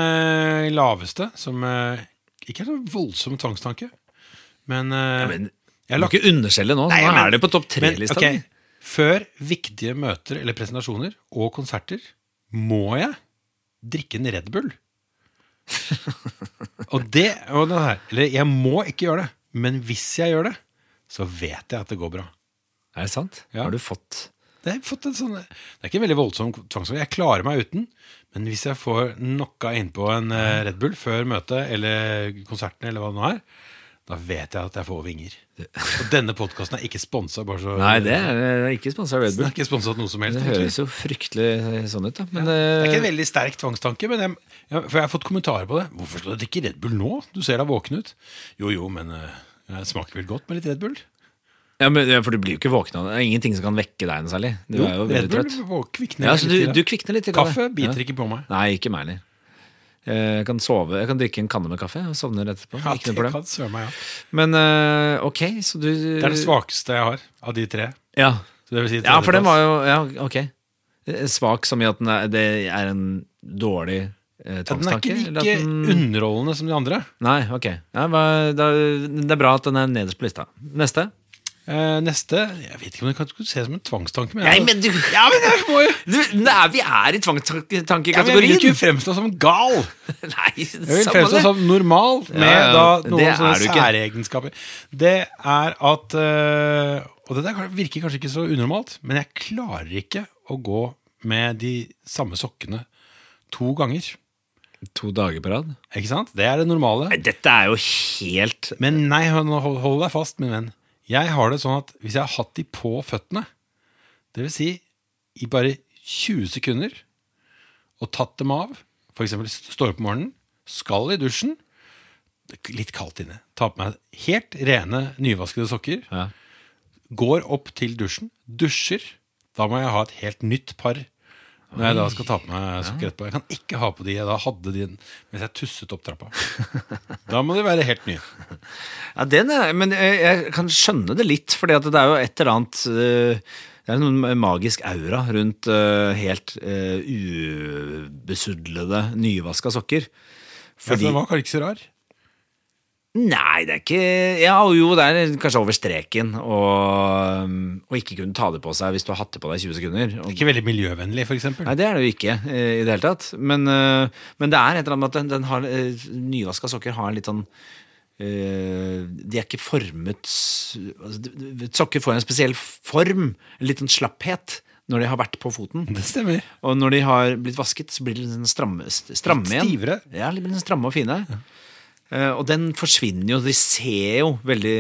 A: eh, laveste, som eh, ikke er en voldsom tvangstanke. Men, eh,
B: Ja, men,
A: jeg har
B: du må
A: lagt
B: ikke underskjelle nå.
A: Nei,
B: nå
A: men-
B: er det på topp
A: men,
B: tre-lista.
A: ok, Før viktige møter eller presentasjoner og konserter må jeg drikke en Red Bull. og det og den her, Eller jeg må ikke gjøre det, men hvis jeg gjør det, så vet jeg at det går bra.
B: Er det sant?
A: Ja.
B: Har du fått
A: Det, har fått en sånn, det er ikke en veldig voldsom tvangstanke. Jeg klarer meg uten. Men hvis jeg får knocka innpå en eh, Red Bull før møtet eller konserten, eller hva det nå er, da vet jeg at jeg får vinger. Og denne podkasten er ikke sponsa. Bare så,
B: Nei, det er det er eh, ikke sponsa av Red
A: Den
B: Bull.
A: er ikke sponset noe som helst.
B: Det
A: egentlig.
B: høres jo fryktelig sånn ut, da. Men
A: Det er
B: eh,
A: ikke en veldig sterk tvangstanke, men jeg, jeg, for jeg har fått kommentarer på det. 'Hvorfor skal du drikke Red Bull nå? Du ser da våken ut.' Jo, jo, men eh, det smaker vel godt med litt Red Bull?
B: Ja, men, ja, for du blir jo ikke våken av det. Det er ingenting som kan vekke deg noe særlig. Du er jo veldig
A: Red Bull
B: trøtt.
A: vå- kvikner
B: Ja,
A: jeg
B: så
A: litt
B: du,
A: i det.
B: du kvikner litt. i det.
A: Kaffe biter
B: ja.
A: ikke på meg.
B: Nei, ikke meg heller. Eh, Jeg kan sove, jeg kan drikke en kanne med kaffe og sovner etterpå.
A: Ja, det
B: ikke noe problem.
A: kan søren meg, ja.
B: Men eh, ok, så du
A: Det er det svakeste jeg har av de tre.
B: Ja,
A: Så det vil si
B: ja for den
A: tredjeplass.
B: var jo Ja, ok. Eh, Svak som i at den er, det er en dårlig eh,
A: Ja, Den er
B: tvangstanke?
A: ikke
B: eller at
A: like underholdende som de andre.
B: Nei, ok. Ja, hva, da, det er bra at den er nederst på lista. Neste.
A: Eh, neste Jeg vet ikke om det kan se som en tvangstanke, men,
B: Nei, men du,
A: ja, men jeg må jo
B: du nei, Vi er i
A: ja, men Jeg vil
B: tvangstankekategorien.
A: ikke fremstå som gal.
B: Nei,
A: Jeg vil
B: samme
A: fremstå
B: det.
A: som normal med
B: Ja, ja,
A: da noen
B: det
A: sånne
B: er du ikke.
A: særegenskaper. Det er at eh, Og det der kan- virker kanskje ikke så unormalt, men jeg klarer ikke å gå med de samme sokkene to ganger.
B: To dager på rad?
A: Ikke sant? Det er det normale.
B: Nei, Dette er jo helt
A: Men nei, nå hold hold deg fast, min venn. Jeg har det sånn at hvis jeg har hatt de på føttene, det vil si i bare 20 sekunder, og tatt dem av, for eksempel st- står opp om morgenen, skal i dusjen, det er litt kaldt inne, tar på meg helt rene, nyvaskede sokker,
B: Ja.
A: går opp til dusjen, dusjer, da må jeg ha et helt nytt par når jeg da skal ta på meg sokker etterpå. Jeg kan ikke ha på de jeg da hadde de mens jeg tusset opp trappa. Da må de være helt nye.
B: Ja, den er, men jeg, jeg kan skjønne det litt, for det er jo et eller annet eh, Det er noen magisk aura rundt eh, helt eh, ubesudlede, nyvaska sokker.
A: Fordi...
B: Fordi
A: den var kanskje ikke så rar.
B: Nei, det er ikke Ja, jo, det er kanskje over streken å å ikke kunne ta det på seg hvis du har hatt det på deg i 20 sekunder. Og,
A: Ikke veldig miljøvennlig, for eksempel.
B: nei, det er det jo ikke eh, i det hele tatt. Men, eh, men det er et eller annet med at den, den har eh, Nyvaska sokker har en litt sånn eh, de er ikke formet s- altså, d- d- Sokker får en spesiell form, en liten slapphet, når de har vært på foten.
A: Det stemmer.
B: Og når de har blitt vasket, så blir de litt sånn stramme, st- stramme
A: Litt
B: igjen.
A: stivere.
B: Ja, litt litt stramme og fine. Eh, og den forsvinner jo. De ser jo veldig,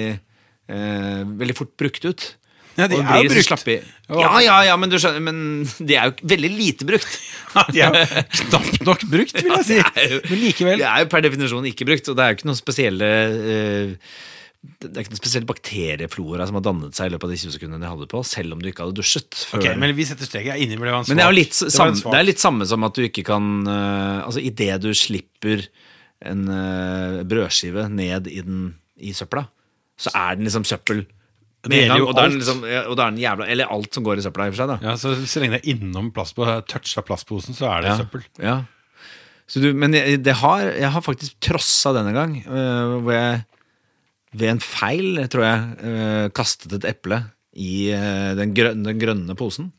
B: eh, veldig fort brukt ut.
A: Ja, de
B: Og
A: er jo
B: blir så
A: brukt.
B: slappe i-
A: Og-
B: Ja, ja, ja, men du skjønner Men de er jo veldig lite brukt.
A: De er jo knapt nok brukt, vil jeg si.
B: Ja, det er jo-
A: Men likevel.
B: De er jo per definisjon ikke brukt, og det er jo ikke noen spesielle eh, det er ikke noen spesiell bakterieflora som har dannet seg i løpet av de 20 sekundene de hadde på, selv om du ikke hadde dusjet. Før.
A: Ok, men vi setter strek. Jeg er inne i det var en svak.
B: Men det er jo litt,
A: Det var
B: samme,
A: en
B: det
A: svak.
B: er litt samme som at du ikke kan uh, Altså idet du slipper en eh, brødskive ned i, den, i søpla, så er den liksom søppel. med
A: Det
B: en
A: gjelder jo
B: gang, Og da er den
A: alt.
B: liksom, ja, og da er den jævla Eller alt som går i søpla, i og for seg. da
A: Ja, så, så lenge det er innom plastposen, toucha plastposen, så er det søppel.
B: ja. Så du, Men jeg, det har, jeg har faktisk trossa denne gang, eh, hvor jeg ved en feil, tror jeg, eh, kastet et eple i eh, den, grønne, den grønne posen.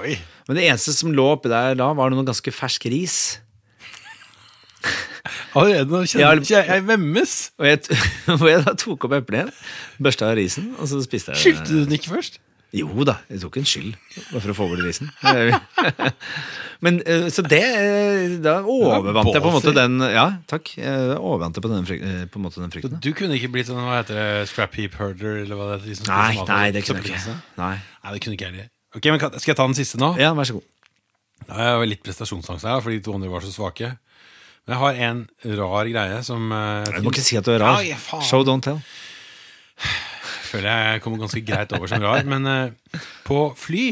A: Oi.
B: Men det eneste som lå oppi der da, var noe ganske fersk ris.
A: Allerede nå
B: Ja,
A: kjenner jeg, jeg vemmes.
B: Og jeg, t- og jeg da tok opp eplet igjen, børsta av risen, og så spiste jeg
A: Skyldte du den ikke først?
B: Jo da, jeg tok en skyld, bare for å få bort risen. Men eh, Så det eh, Da overvant jeg på en måte den Ja, takk. Jeg overvant jeg på, den fryk- eh, på en måte den frykten. da.
A: Du kunne ikke blitt sånn, hva heter det, scrap heap herder, eller hva det heter? de som spiser
B: Nei,
A: mat av
B: nei, det kunne jeg ikke.
A: søppelkassene?
B: Nei.
A: Nei, det kunne ikke jeg heller. Ok, men kan- skal jeg ta den siste nå?
B: Ja, vær så god.
A: Da har jeg jo litt prestasjonsangst her, fordi de to andre var så svake. Men jeg har en rar greie som eh,
B: Du må ikke si at du er rar.
A: Ja, ja, faen.
B: Show don't tell.
A: føler jeg kommer ganske greit over som rar. Men eh, på fly,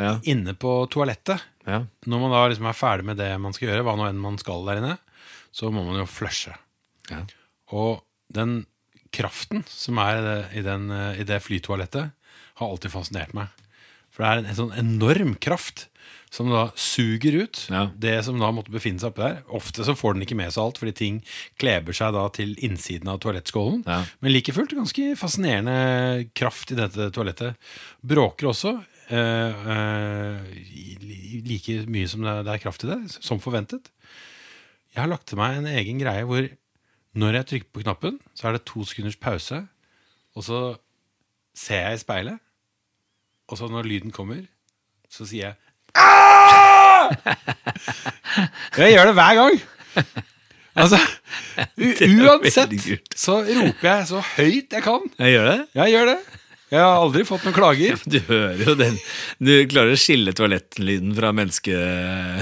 B: Ja,
A: inne på toalettet,
B: ja.
A: når man da liksom er ferdig med det man skal gjøre, hva nå enn man skal der inne, så må man jo flushe.
B: ja.
A: Og den kraften som er i det, i den, eh, i det flytoalettet, har alltid fascinert meg. For det er en, en sånn enorm kraft som da suger ut
B: Ja.
A: det som da måtte befinne seg oppi der. Ofte så får den ikke med seg alt, fordi ting kleber seg da til innsiden av toalettskålen.
B: Ja.
A: Men like fullt ganske fascinerende kraft i dette toalettet. Bråker også. eh, eh, i- i- like mye som det er- det er kraft i det, som forventet. Jeg har lagt til meg en egen greie hvor når jeg trykker på knappen, så er det to sekunders pause, og så ser jeg i speilet, og så når lyden kommer, så sier jeg «Ah!» Jeg gjør det hver gang. Altså, u uansett
B: veldig kult.
A: så roper jeg så høyt jeg kan.
B: Jeg gjør det?
A: Jeg gjør det. Jeg har aldri fått noen klager.
B: Du hører jo den Du klarer å skille toalettlyden fra menneske...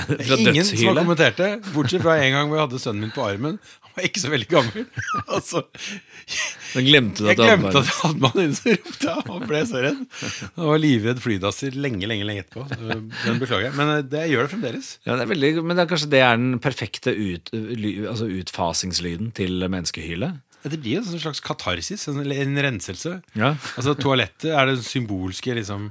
B: Fra
A: Ingen som har
B: dødshylet.
A: kommentert det, bortsett fra en gang hvor jeg hadde sønnen min på armen. Han var ikke så veldig gammel. Altså,
B: Da glemte du
A: Jeg
B: at du hadde
A: glemte
B: barn.
A: at jeg hadde mannen inne, så ropte jeg, og ble så redd. Han var livredd flydasser lenge, lenge lenge etterpå. så Den beklager jeg. Men eh, det jeg gjør det fremdeles.
B: Ja, det er veldig, men det er kanskje det er den perfekte ut, ly, altså utfasingslyden til menneskehylet?
A: Det blir jo en sånn slags katarsis, en, en renselse.
B: Ja.
A: Altså Toalettet er den symbolske liksom,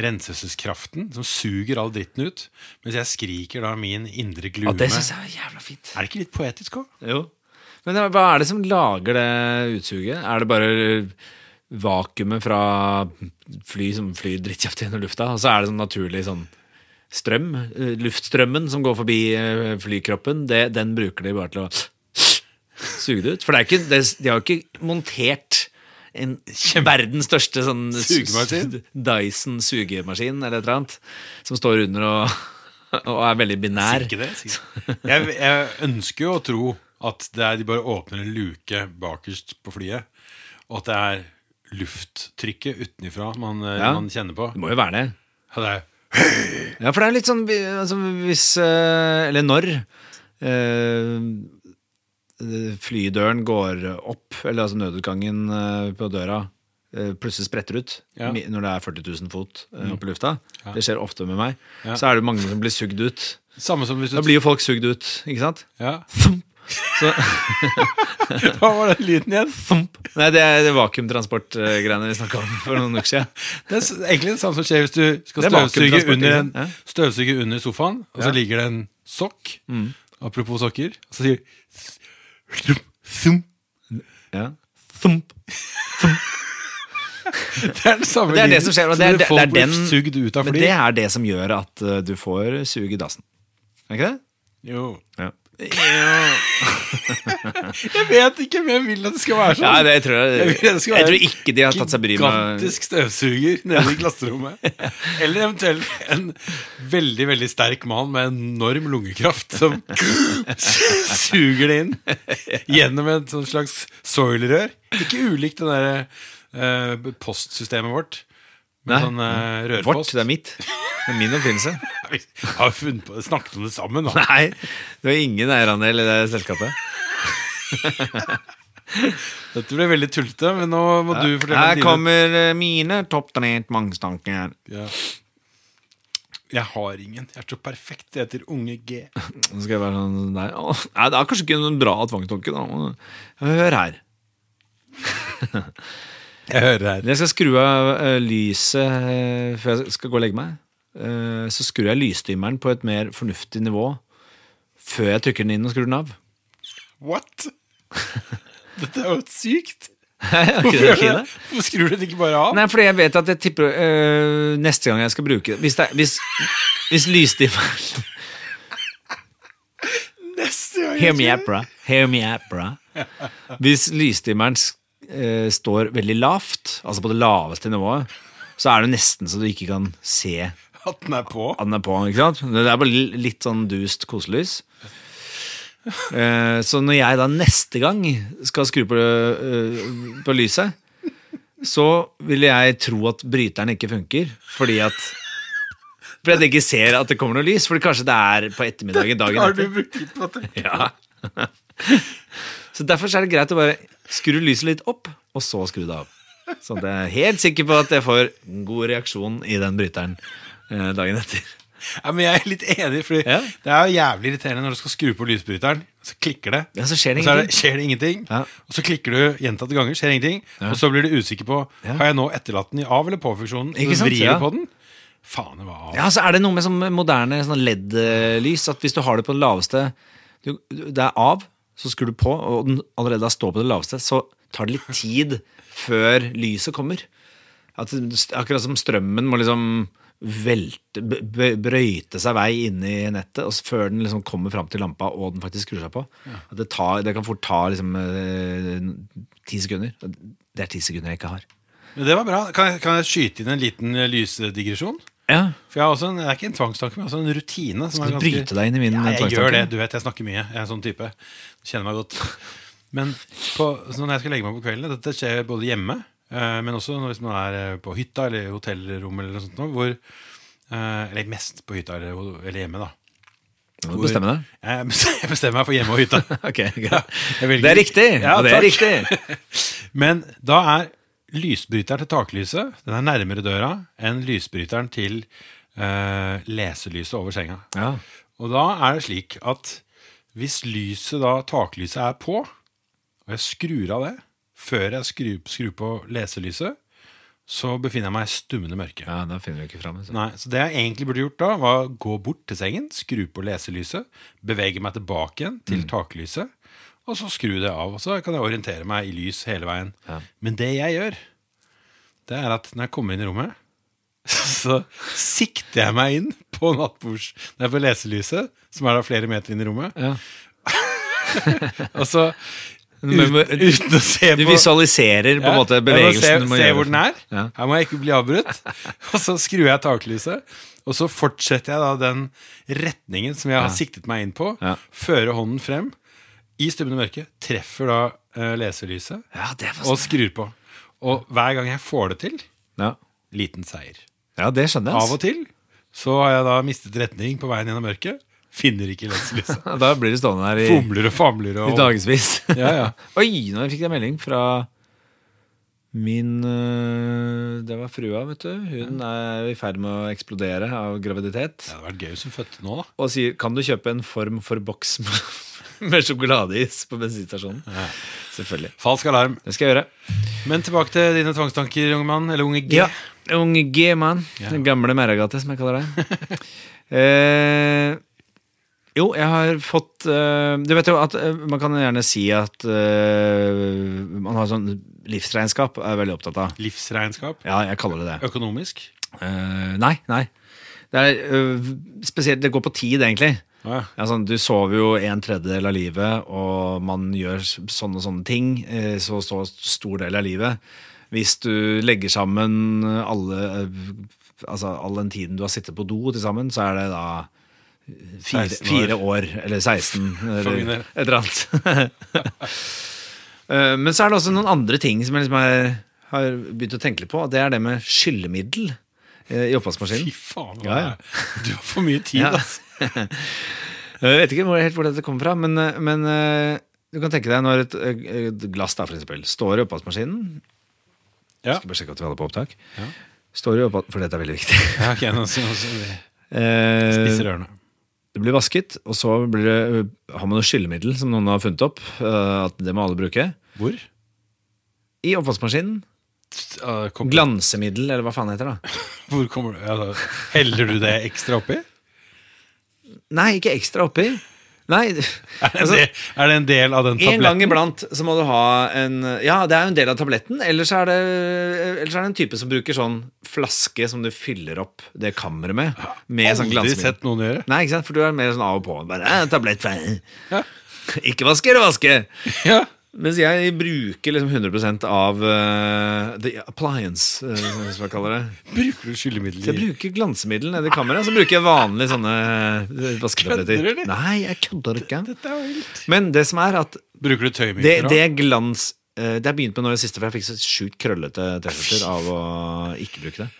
A: renselseskraften som suger all dritten ut. Mens jeg skriker da min indre
B: Ja,
A: glume.
B: det syns jeg er jævla fint.
A: Er det ikke litt poetisk òg?
B: Jo. Men hva er det som lager det utsuget? Er det bare vakuumet fra fly som flyr drittkjapt gjennom lufta, og så er det sånn naturlig sånn strøm, eh, luftstrømmen som går forbi eh, flykroppen, det, den bruker de bare til å suge det ut. For det er ikke, det, de har jo ikke montert en verdens største sånn
A: Sugemaskin?
B: Dyson-sugemaskin eller et eller annet, som står under og, og er veldig
A: Sier
B: binær.
A: ikke det? sier- Jeg, jeg ønsker jo å tro at det er, de bare åpner en luke bakerst på flyet, og at det er lufttrykket utenifra man, eh,
B: Ja.
A: man kjenner på.
B: Det må jo være det.
A: Ja, det er,
B: Ja, for det er litt sånn vi- altså, hvis eh, Eller når eh, flydøren går opp, eller altså nødutgangen eh, på døra eh, plutselig spretter ut
A: Ja. Mm.
B: mi- når det er 40 000 fot eh, oppe i lufta.
A: Ja.
B: Det skjer ofte med meg.
A: Ja.
B: Så er det mange som blir sugd ut.
A: samme som hvis du
B: Da blir jo folk sugd ut, ikke sant?
A: ja.
B: Thump. Så,
A: Hva var den lyden igjen?
B: thump. Nei, det er det vakuumtransportgreiene vi snakka om for noen uker siden.
A: Det er s- egentlig det samme som skjer hvis du skal
B: Det er
A: støvsuge
B: vakuumtransport,
A: under, en,
B: ikke sant?
A: støvsuge under sofaen, og så
B: Ja. Mm.
A: ligger det en sokk. Apropos sokker. Og så sier du Thump.
B: Ja. Thump.
A: Det er den samme
B: Det er det
A: lyden.
B: som skjer, og
A: Så
B: det er-
A: du-
B: det er
A: folk blir
B: den-
A: sugd ut av
B: Men
A: fly.
B: det er det som gjør at eh, du får sug i dassen. Er ikke det?
A: Jo.
B: Ja.
A: Jeg vet ikke om jeg vil at det skal være sånn.
B: Nei, det tror jeg,
A: Jeg vil det
B: jeg,
A: skal være
B: tror ikke de har tatt seg bryet med
A: Gigantisk støvsuger nede i klasserommet. Eller eventuelt en veldig veldig sterk mann med enorm lungekraft som suger det inn gjennom et sånt slags soilrør. Ikke ulikt det derre eh, postsystemet vårt. Med
B: Nei.
A: sånn eh, rørpost.
B: Vårt, det er mitt. Det er min oppfinnelse.
A: Vi har funnet på, snakket om det sammen, da.
B: Nei, du har ingen eierandel i det selskapet.
A: Dette ble veldig tullete, men nå må du fortelle om
B: Her
A: dine-
B: kommer eh, mine topp trent mangstanker.
A: Ja. Jeg har ingen. Jeg er så perfekt. Jeg heter Unge G.
B: Nå skal jeg være sånn der. Åh, Nei, det er kanskje ikke noen bra tvangstanke, da. Hør her.
A: Jeg hører her.
B: Når jeg skal skru av eh, lyset eh, før jeg skal gå og legge meg, eh, så skrur jeg lysdimeren på et mer fornuftig nivå før jeg trykker den inn og skrur den av.
A: What? Dette er jo sykt!
B: Er ikke
A: Hvorfor,
B: det
A: gjør du
B: fint,
A: det? Hvorfor skrur du det ikke bare av?
B: Nei, fordi jeg vet at jeg tipper øh, Neste gang jeg skal bruke det Hvis, det, er- hvis, hvis lysdimmer
A: Neste gang jeg
B: Hear me
A: skrur-
B: up, bra Hear me up, bra Hvis lysdimmeren sk- øh, står veldig lavt Altså på det laveste nivået Så er det nesten så du ikke kan se at
A: At den er på?
B: den er på Ikke sant? Det er bare li- litt sånn dust koselys Eh, Så når jeg da neste gang Skal skru på, øh, på lyset så vil jeg tro at bryteren ikke funker, fordi at fordi at jeg ikke ser at det kommer noe lys, for kanskje det er på ettermiddagen dagen
A: Har du
B: etter.
A: brukt tid på det?
B: Ja. Så derfor så er det greit å bare skru lyset litt opp, og så skru det av. Sånn at jeg er helt sikker på at jeg får en god reaksjon i den bryteren eh, dagen etter.
A: Ja, men jeg er litt enig, for
B: Ja.
A: det er jo jævlig irriterende når du skal skru på lysbryteren, så klikker det.
B: Ja, så skjer det
A: og så er
B: ingenting.
A: skjer det ingenting.
B: Ja.
A: Og så klikker du gjentatte ganger, skjer ingenting. Og så blir du usikker på
B: Ja.
A: har jeg nå etterlatt den i av- eller på-funksjonen.
B: Ikke
A: Så
B: sant?
A: vrir du
B: Ja.
A: på den. Faen, det var av.
B: Ja, så er det noe med sånn moderne sånn LED-lys, at hvis du har det på den laveste du, du- Det er av, så skrur du på, og den allerede da står på det laveste, så tar det litt tid før lyset kommer. At, det- akkurat som strømmen må liksom velte, b- b- brøyte seg vei inn i nettet og s- før den liksom kommer fram til lampa og den faktisk skrur seg på. At det, tar, det kan fort ta liksom eh, ti sekunder. Det er ti sekunder jeg ikke har.
A: Men det var bra. Kan jeg, kan jeg skyte inn en liten eh, lysdigresjon?
B: Ja,
A: For jeg har også en, det er ikke en tvangstanke, men også en rutine. Som
B: Skal du bryte deg inn i min eh,
A: ja, jeg
B: tvangstanke?
A: gjør det. Du vet, jeg snakker mye. Jeg er en sånn type. Du Kjenner meg godt. Men på, så når jeg skal legge meg på kvelden Dette skjer både hjemme, eh, men også når, hvis man er eh, på hytta eller hotellrom eller noe sånt. nå, Hvor, eh, eller mest på hytta eller, eller hjemme, da.
B: Må du bestemme deg.
A: Jeg bestemmer- jeg bestemmer meg for hjemme og hytta.
B: Ok,
A: Ja,
B: greit.
A: jeg velger-
B: Det er riktig,
A: Ja,
B: og det er
A: takk.
B: riktig.
A: Men da er lysbryteren til taklyset Den er nærmere døra enn lysbryteren til eh, leselyset over senga.
B: Ja.
A: Og da er det slik at hvis lyset da, taklyset er på, og jeg skrur av det før jeg skrur, skrur på leselyset, så befinner jeg meg i stummende mørke.
B: ja, da finner du ikke fram. altså.
A: Nei, så det jeg egentlig burde gjort da, var å gå bort til sengen, skru på leselyset, bevege meg tilbake igjen til
B: Mm.
A: taklyset, og så skru det av, og så kan jeg orientere meg i lys hele veien.
B: Ja.
A: Men det jeg gjør, det er at når jeg kommer inn i rommet, så sikter jeg meg inn på nattbords... Nei, på leselyset, som er da flere meter inn i rommet.
B: Ja.
A: Og så
B: Men- men-
A: uten, uten å se
B: Du
A: på
B: visualiserer på en måte
A: jeg må
B: bevegelsen du
A: se,
B: må
A: se
B: gjøre.
A: hvor den er.
B: Ja.
A: Her må jeg ikke bli avbrutt. Og så skrur jeg taklyset. Og så fortsetter jeg da den retningen som jeg har siktet meg inn på.
B: Ja.
A: Fører hånden frem i stummende mørke. Treffer da eh, leselyset
B: Ja, det er
A: og
B: fascinerende.
A: skrur på. Og hver gang jeg får det til,
B: Ja.
A: liten seier.
B: ja, det skjønner
A: Av
B: jeg. altså.
A: og til så har jeg da mistet retning på veien gjennom mørket. Finner ikke leselyset.
B: Altså. Da blir du stående her i,
A: Fomler og famler
B: i
A: og
B: dagevis.
A: Ja, ja.
B: Oi, nå fikk jeg melding fra min øh, Det var frua, vet du. Hun er i ferd med å eksplodere av graviditet.
A: Det hadde vært gøy hvis hun fødte nå, da.
B: Og sier kan du kjøpe en form for boks med- med sjokoladeis på bensinstasjonen. Selvfølgelig.
A: Falsk alarm.
B: Det skal jeg gjøre.
A: Men tilbake til dine tvangstanker, unge mann. Eller unge G.
B: Ja. Unge G-mann.
A: Ja.
B: Den gamle Merragate, som jeg kaller deg. eh, jo, jeg har fått eh, Du vet jo at eh, man kan gjerne si at eh, man har sånn livsregnskap, er jeg veldig opptatt av.
A: Livsregnskap.
B: Ja, jeg kaller det det.
A: Økonomisk?
B: Eh, nei, nei. Det er eh, spesielt Det går på tid, egentlig. Ja, sånn, du sover jo en tredjedel av livet, og man gjør s- sånne og sånne ting, eh, så så stor del av livet. Hvis du legger sammen alle, eh, altså, all den tiden du har sittet på do til sammen, så er det da fire,
A: 16 år.
B: fire år, eller 16,
A: min
B: eller
A: del.
B: et eller annet. Eh, Men så er det også noen andre ting som jeg liksom har, har begynt å tenke litt på, og det er det med skyllemiddel eh, i oppvaskmaskinen.
A: Fy faen, hva
B: Ja, ja.
A: er det? du har for mye tid,
B: Ja.
A: altså.
B: Eh, Jeg vet ikke hvor, helt hvor dette kommer fra, men, eh, men eh, du kan tenke deg når et, eh, et glass da, for eksempel, står i oppvaskmaskinen
A: Ja.
B: Skal bare sjekke at vi holder på opptak.
A: Ja.
B: Står i oppvask... For dette er veldig viktig.
A: Ja, ok, nå så- nå så- vi
B: Eh,
A: Spiser ørene.
B: det blir vasket, og så blir det, eh, har man noe skyllemiddel som noen har funnet opp. eh, at Det må alle bruke.
A: Hvor?
B: I oppvaskmaskinen.
A: Uh, kom-
B: Glansemiddel, eller hva faen det heter det?
A: Hvor kommer du? Ja, da. Heller du det ekstra oppi?
B: Nei, ikke ekstra oppi. Nei, altså,
A: Er det, en del, er det Altså, en del av den
B: En gang
A: tabletten?
B: iblant så må du ha en Ja, det er jo en del av tabletten. Ellers er det, ellers er det en type som bruker sånn flaske som du fyller opp det kammeret med. Med sånn
A: Aldri
B: glansmiddel.
A: sett noen gjøre.
B: Nei, ikke sant? For du er mer sånn av og på. Bare, «Eh, tablett ferdig».
A: Ja.
B: Ikke vaske eller vaske!
A: Ja.
B: Mens jeg bruker liksom 100 av eh, the appliance, eh, som jeg kaller det.
A: Bruker du skyllemiddel
B: Så jeg
A: i
B: bruker glansemiddel nedi kammeret, så bruker jeg vanlige sånne eh, vasketabletter.
A: Kødder du, eller?
B: Nei, jeg kødder ikke.
A: Dette er jo helt
B: Men det som er at
A: Bruker du tøymidler?
B: det,
A: da?
B: det er glans eh, Det har begynt med nå i det siste, for jeg fikk så sjukt krøllete T-skjorter av å ikke bruke det.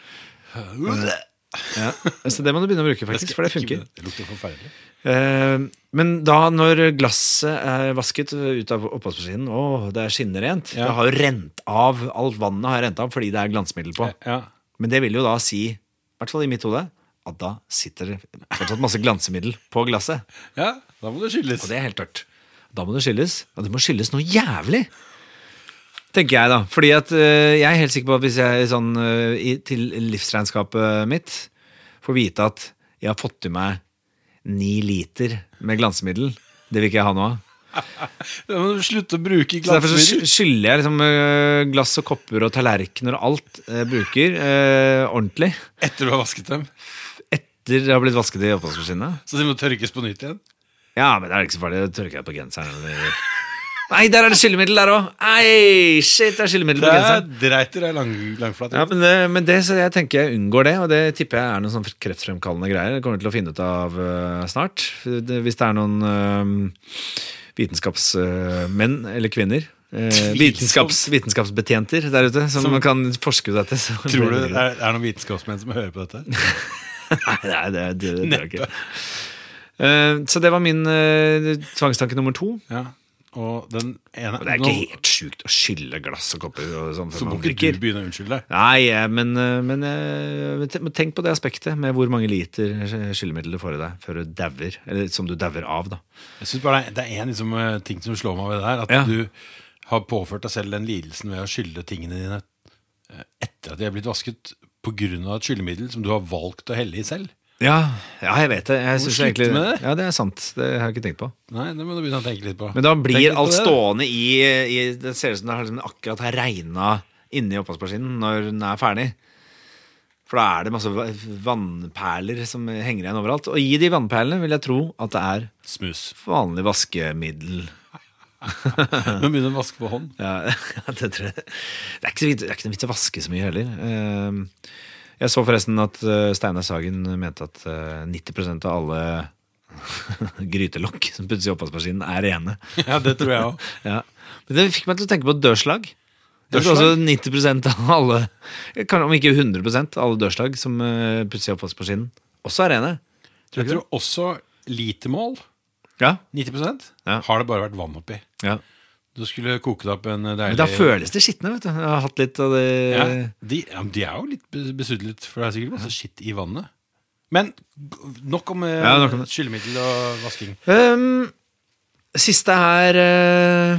B: Ja. Så det må du begynne å bruke,
A: Jeg skal
B: faktisk, for det
A: ikke
B: funker.
A: begynne. Det lukter forferdelig.
B: Eh, Men da når glasset er vasket ut av oppvaskmaskinen, å, det er skinnerent
A: Ja.
B: Det har jo rent av, alt vannet har rent av fordi det er glansmiddel på.
A: Ja.
B: Men det vil jo da si, i hvert fall i mitt hode, at da sitter det fortsatt masse glansemiddel på glasset.
A: ja, da må det skyldes.
B: Og det er helt tørt. Da må det skyldes. Og det må skyldes noe jævlig! Tenker jeg, da. Fordi at øh, jeg er helt sikker på at hvis jeg sånn øh, i, til livsregnskapet mitt får vite at jeg har fått i meg ni liter med glansemiddel, det vil ikke jeg ha noe av.
A: Da må du slutte å bruke
B: Så Derfor så
A: glansmiddel.
B: sky- skyller jeg liksom øh, glass og kopper og tallerkener og alt jeg bruker, øh, ordentlig.
A: Etter du har vasket dem.
B: Etter det har blitt vasket i oppvaskmaskinen.
A: Så de må tørkes på nytt igjen.
B: Ja, men det er ikke så farlig. Det tørker jeg på genseren. Eller... Nei, der er det skyllemiddel der òg! Ei, shit, det er skyllemiddel på
A: Der
B: genseren.
A: dreit dere lang, langflat.
B: Ja, men det, men det, så jeg tenker jeg unngår det, og det tipper jeg er noen sånn kreftfremkallende greier. Det kommer vi til å finne ut av eh, snart. Det, hvis det er noen eh, vitenskapsmenn eller -kvinner. eh, vitenskaps, vitenskapsbetjenter der ute som,
A: Som-
B: kan forske på dette. så-
A: Tror du det er, er noen vitenskapsmenn som hører på dette?
B: Nei, det, det, det, tror jeg ikke. Eh, så det var min eh, tvangstanke nummer to.
A: Ja. Og den ene
B: Og Det er
A: nå-
B: ikke helt sjukt å skylle glass og kopper og sånn
A: Så
B: før
A: må
B: man
A: ikke
B: drikker.
A: du begynne å unnskylde deg.
B: Nei, eh, men, eh, men, eh, men te- men tenk på det aspektet med hvor mange liter skyllemiddel du får i deg før du dauer. Eller som du dauer av, da.
A: Jeg synes bare Det er- det er én liksom, eh, ting som slår meg ved det her. At
B: Ja.
A: du har påført deg selv den lidelsen ved å skylde tingene dine eh, etter at de er blitt vasket pga. et skyllemiddel som du har valgt å helle i selv.
B: Ja, ja jeg vet det. Jeg
A: Må
B: synes
A: slutte
B: egentlig,
A: med det.
B: Ja, det er sant. Det har jeg ikke tenkt på.
A: Nei, det må du begynne å tenke litt på.
B: Men da
A: Tenk litt
B: blir
A: på
B: alt
A: det, da.
B: stående i, i Det ser ut som det har liksom akkurat har regna inni oppvaskmaskinen når den er ferdig. For da er det masse va- vannperler som henger igjen overalt. Og i de vannperlene vil jeg tro at det er
A: Smus.
B: vanlig vaskemiddel.
A: Nå begynner å vaske på hånd.
B: Ja, det, tror jeg. det er ikke så vidt- det er ikke noe vits å vaske så mye heller. Ehm, Jeg så forresten at eh, Steinar Sagen mente at eh, 90 av alle grytelokk som puttes i oppvaskmaskinen, er rene.
A: Ja, det tror jeg òg.
B: Ja. Men det fikk meg til å tenke på dørslag. Jeg tror også 90 av alle, kan- om ikke 100 av alle dørslag som eh, puttes i oppvaskmaskinen, også er rene.
A: Jeg tror også litermål,
B: Ja.
A: 90
B: Ja.
A: har det bare vært vann oppi.
B: ja.
A: Du skulle koke det opp en eh, deilig
B: Men da føles det skitne, vet du. Jeg har hatt litt av det
A: ja, de, ja, men de er jo litt bes- besudlet, for det er sikkert masse skitt i vannet. Men g- nok om, eh,
B: Ja, nok om det.
A: skyllemiddel og vasking.
B: Ehm, Siste her eh,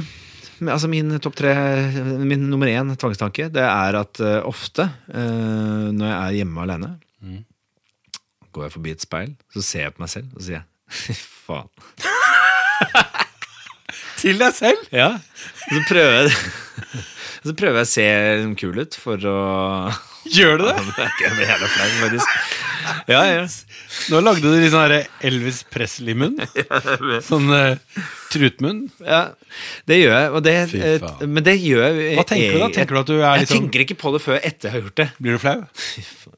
B: men Altså min topp tre Min nummer én tvangstanke Det er at eh, ofte eh, Når jeg er hjemme alene
A: Mm.
B: Går jeg forbi et speil Så ser jeg på meg selv og så sier jeg, Fy faen
A: Til deg selv?
B: ja. Så prøver jeg Så prøver jeg å se kul ut For å
A: Gjør du det?
B: Jeg blir jævla flau faktisk Ja, ja
A: Nå lagde du litt sånn her Elvis Presley-munn. Sånn eh, trutmunn.
B: Ja, det gjør jeg. Og det,
A: Fy
B: eh,
A: faen.
B: men det gjør jeg
A: Hva tenker du da? Tenker du at du er
B: Jeg,
A: litt sånn-
B: tenker ikke på det før etter jeg har gjort det.
A: Blir du flau?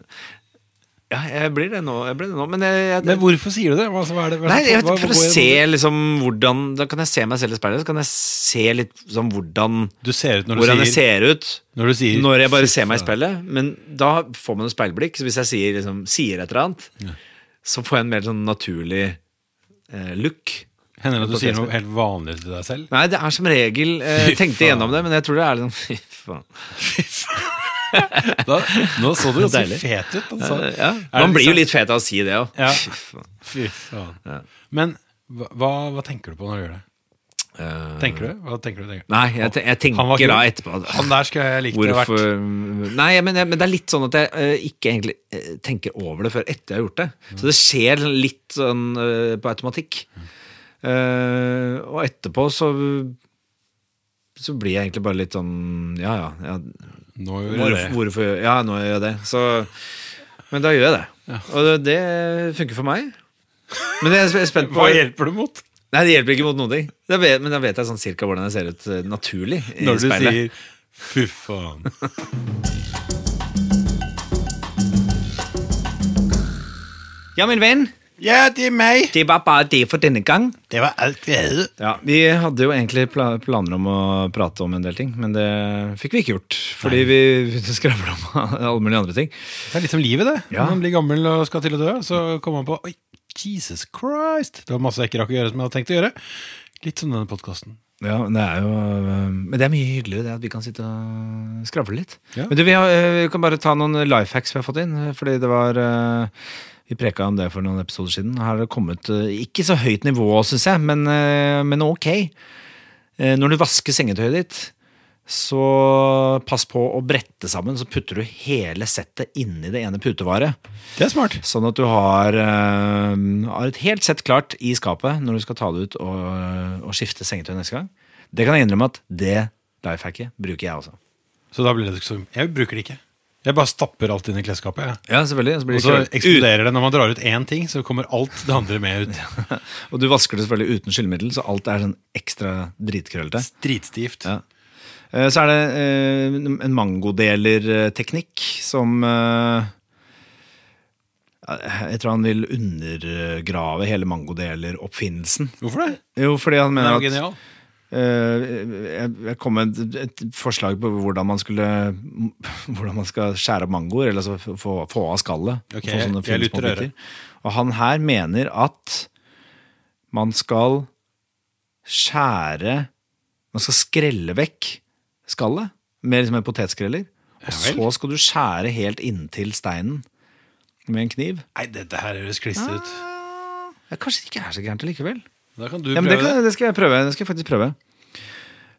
B: Ja, jeg blir det nå. Jeg blir det nå men jeg, jeg,
A: Men hvorfor sier du det? Hva, hva er det? Hva,
B: Nei, jeg,
A: hva-
B: for å
A: hvor-
B: se liksom hvordan Da kan jeg se meg selv i speilet, så kan jeg se litt sånn hvordan,
A: Du ser ut når du
B: hvordan jeg
A: sier
B: ser ut
A: Når du sier
B: når jeg bare ser meg i speilet. Men da får man et speilblikk, så hvis jeg sier, liksom, sier et eller annet, så får jeg en mer sånn naturlig eh, look.
A: Hender det at du sier noe helt vanlig til deg selv?
B: Nei, det er som regel eh,
A: Fy
B: Tenkte
A: faen.
B: igjennom det, men jeg tror det er litt sånn Fy faen.
A: Da, nå så du ganske
B: Deilig.
A: fet ut. Altså.
B: Eh, Ja,
A: Er det
B: man blir jo
A: liksom-
B: litt fet av å si det òg.
A: Ja. Fy faen. Men hva, hva- hva tenker du på når du gjør det?
B: Eh,
A: Tenker du? Hva tenker du? Tenker? du?
B: Nei, jeg, te- jeg
A: Han var
B: tenker
A: kul.
B: da etterpå at-
A: Han der skulle jeg likt å ha
B: Hvorfor
A: vært.
B: Nei, men, jeg, men det er litt sånn at jeg eh, ikke egentlig eh, tenker over det før etter jeg har gjort det. Så det skjer litt sånn eh, på automatikk. Eh, og etterpå så så blir jeg egentlig bare litt sånn Ja, ja. ja
A: Nå gjorde
B: hvorfor,
A: jeg det.
B: hvorfor Ja, nå gjør jeg det. Så Men da gjør jeg det. Og det, det funker for meg. Men jeg er spent på
A: Hva hjelper det mot?
B: Nei, det hjelper ikke mot noen ting. Da vet, men da vet jeg sånn cirka hvordan jeg ser ut eh, naturlig i
A: Når du
B: speilet.
A: sier 'fy faen'.
B: Ja, min venn,
A: Ja, det er meg!
B: det var bare det for denne gang.
A: Det var alt vi hadde.
B: Ja, Vi hadde jo egentlig pla planer om å prate om en del ting, men det fikk vi ikke gjort. Fordi vi begynte å skravle om alle mulige andre ting.
A: Det er litt som livet, det.
B: Ja.
A: Når man blir gammel og skal til å dø, så kommer man på Oi, Jesus Christ! Det var masse jeg ikke rakk å gjøre som jeg hadde tenkt å gjøre. Litt som denne podkasten.
B: Ja, men det er jo øh, Men det er mye hyggeligere det at vi kan sitte og skravle litt.
A: Ja.
B: Men du, vi, har, øh, vi kan bare ta noen life hacks vi har fått inn. øh, Fordi det var øh, Vi preka om det for noen episoder siden. Her har det kommet øh, ikke så høyt nivå, syns jeg, men, øh, men ok. Eh, Når du vasker sengetøyet ditt, så pass på å brette sammen. Så putter du hele settet inni det ene putevaret.
A: Det er smart.
B: Sånn at du har, eh, har et helt sett klart i skapet når du skal ta det ut og, og skifte sengetøy neste gang. Det kan jeg innrømme at det lifehacket bruker jeg også.
A: Så da blir det ikke så Jeg bruker det ikke. Jeg bare stapper alt inn i klesskapet. jeg.
B: Ja, selvfølgelig.
A: Og så eksploderer det. Når man drar ut én ting, så kommer alt det andre med ut.
B: og du vasker det selvfølgelig uten skyllemiddel, så alt er sånn ekstra dritkrøllete.
A: Dritstivt.
B: Ja. Eh, Så er det eh, en mangodeler-teknikk som eh, Jeg tror han vil undergrave hele mangodeler-oppfinnelsen.
A: Hvorfor det?
B: Jo, fordi han
A: Den er
B: mener
A: jo
B: at
A: genial.
B: Eh, jeg, jeg kom med et, et forslag på hvordan man skulle Hvordan man skal skjære opp mangoer, eller altså få, få- få av skallet.
A: Ok,
B: få sånne
A: jeg- jeg
B: fine små
A: lytter
B: biter.
A: øret.
B: Og han her mener at man skal skjære Man skal skrelle vekk skallet med liksom en potetskreller. Og
A: Ja vel.
B: så skal du skjære helt inntil steinen med en kniv.
A: Nei, dette her høres klissete ut.
B: Ja, kanskje det ikke er så gærent likevel.
A: Da kan du
B: Ah. Ja, men det,
A: prøve
B: kan,
A: det.
B: det skal jeg prøve. Det skal jeg faktisk prøve.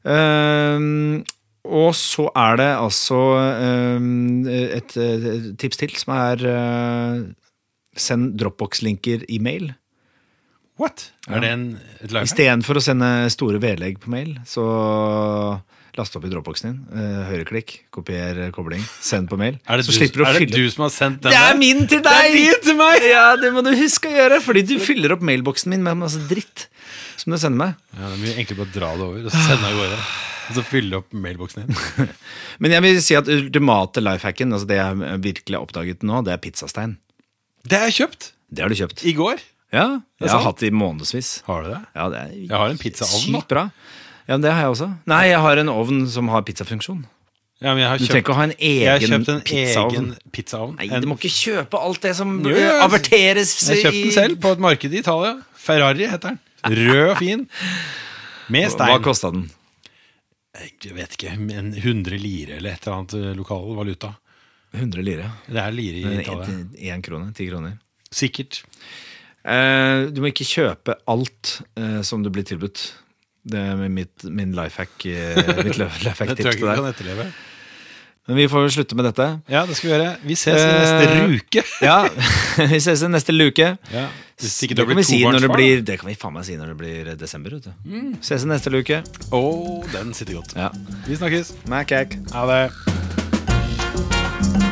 B: Ehm, og så er det altså ehm, et, eh, tips til, som er eh, Send Dropbox-linker i mail.
A: What? Er det en, et live?
B: Istedenfor å sende store vedlegg på mail, så Last opp i dropboxen din. eh, Høyreklikk, kopier eh, kobling, send på mail.
A: Er det,
B: så
A: du,
B: slipper du å
A: er det
B: fylle
A: du som har sendt den?
B: Det er
A: der?
B: min til
A: Det er
B: deg!
A: din til meg!
B: Ja, det må du huske å gjøre, fordi du fyller opp mailboksen min med masse dritt som du sender meg.
A: Ja, det er mye enklere bare å dra det over og så sende av gårde. Og så fylle opp mailboksen din.
B: Men jeg vil si at ultimate lifehacken, altså det jeg virkelig har oppdaget nå, det er pizzastein.
A: Det har jeg kjøpt
B: Det har du kjøpt.
A: i går.
B: Ja,
A: er
B: jeg har
A: sant.
B: hatt det i månedsvis.
A: Har du det?
B: Ja, det er
A: Jeg har en pizzaovn, da.
B: Sykt bra. Ja, men det har jeg også. Nei, jeg har en ovn som har pizzafunksjon.
A: Ja, men jeg har
B: Du trenger
A: kjøpt,
B: ikke å ha en
A: jeg har
B: egen
A: kjøpt en egen
B: pizzaovn.
A: pizzaovn.
B: Nei,
A: En-
B: du må ikke kjøpe alt det som
A: Jo,
B: eh,
A: jo, jeg-
B: averteres
A: Jeg kjøpte den selv på et marked i Italia. Ferrari heter den. Rød og fin. Med
B: Hva
A: stein.
B: kosta den?
A: Jeg vet ikke, men 100 lire eller et eller annet eh, lokal valuta.
B: 100 lire.
A: Det er lire i Italia.
B: Én krone. Ti kroner.
A: Sikkert.
B: Eh, du må ikke kjøpe alt eh, som du blir tilbudt. Det er mitt, min lifehack, eh, mitt
A: Det
B: lifehack
A: tror jeg
B: tips til
A: ikke vi
B: deg.
A: kan etterleve.
B: Men vi får slutte med dette.
A: Ja, det skal vi gjøre. Vi ses i neste
B: Eh,
A: uke.
B: Ja, Vi ses i neste luke.
A: Ja, hvis ikke du
B: det,
A: har
B: kan vi
A: blitt
B: si når det,
A: tobarnsfar, Mm.
B: blir, det kan vi faen meg si når det blir desember. Vet du. Ses i neste luke.
A: da. Å, den sitter godt.
B: Ja.
A: Vi snakkes.
B: Mac-hack.
A: Ha det.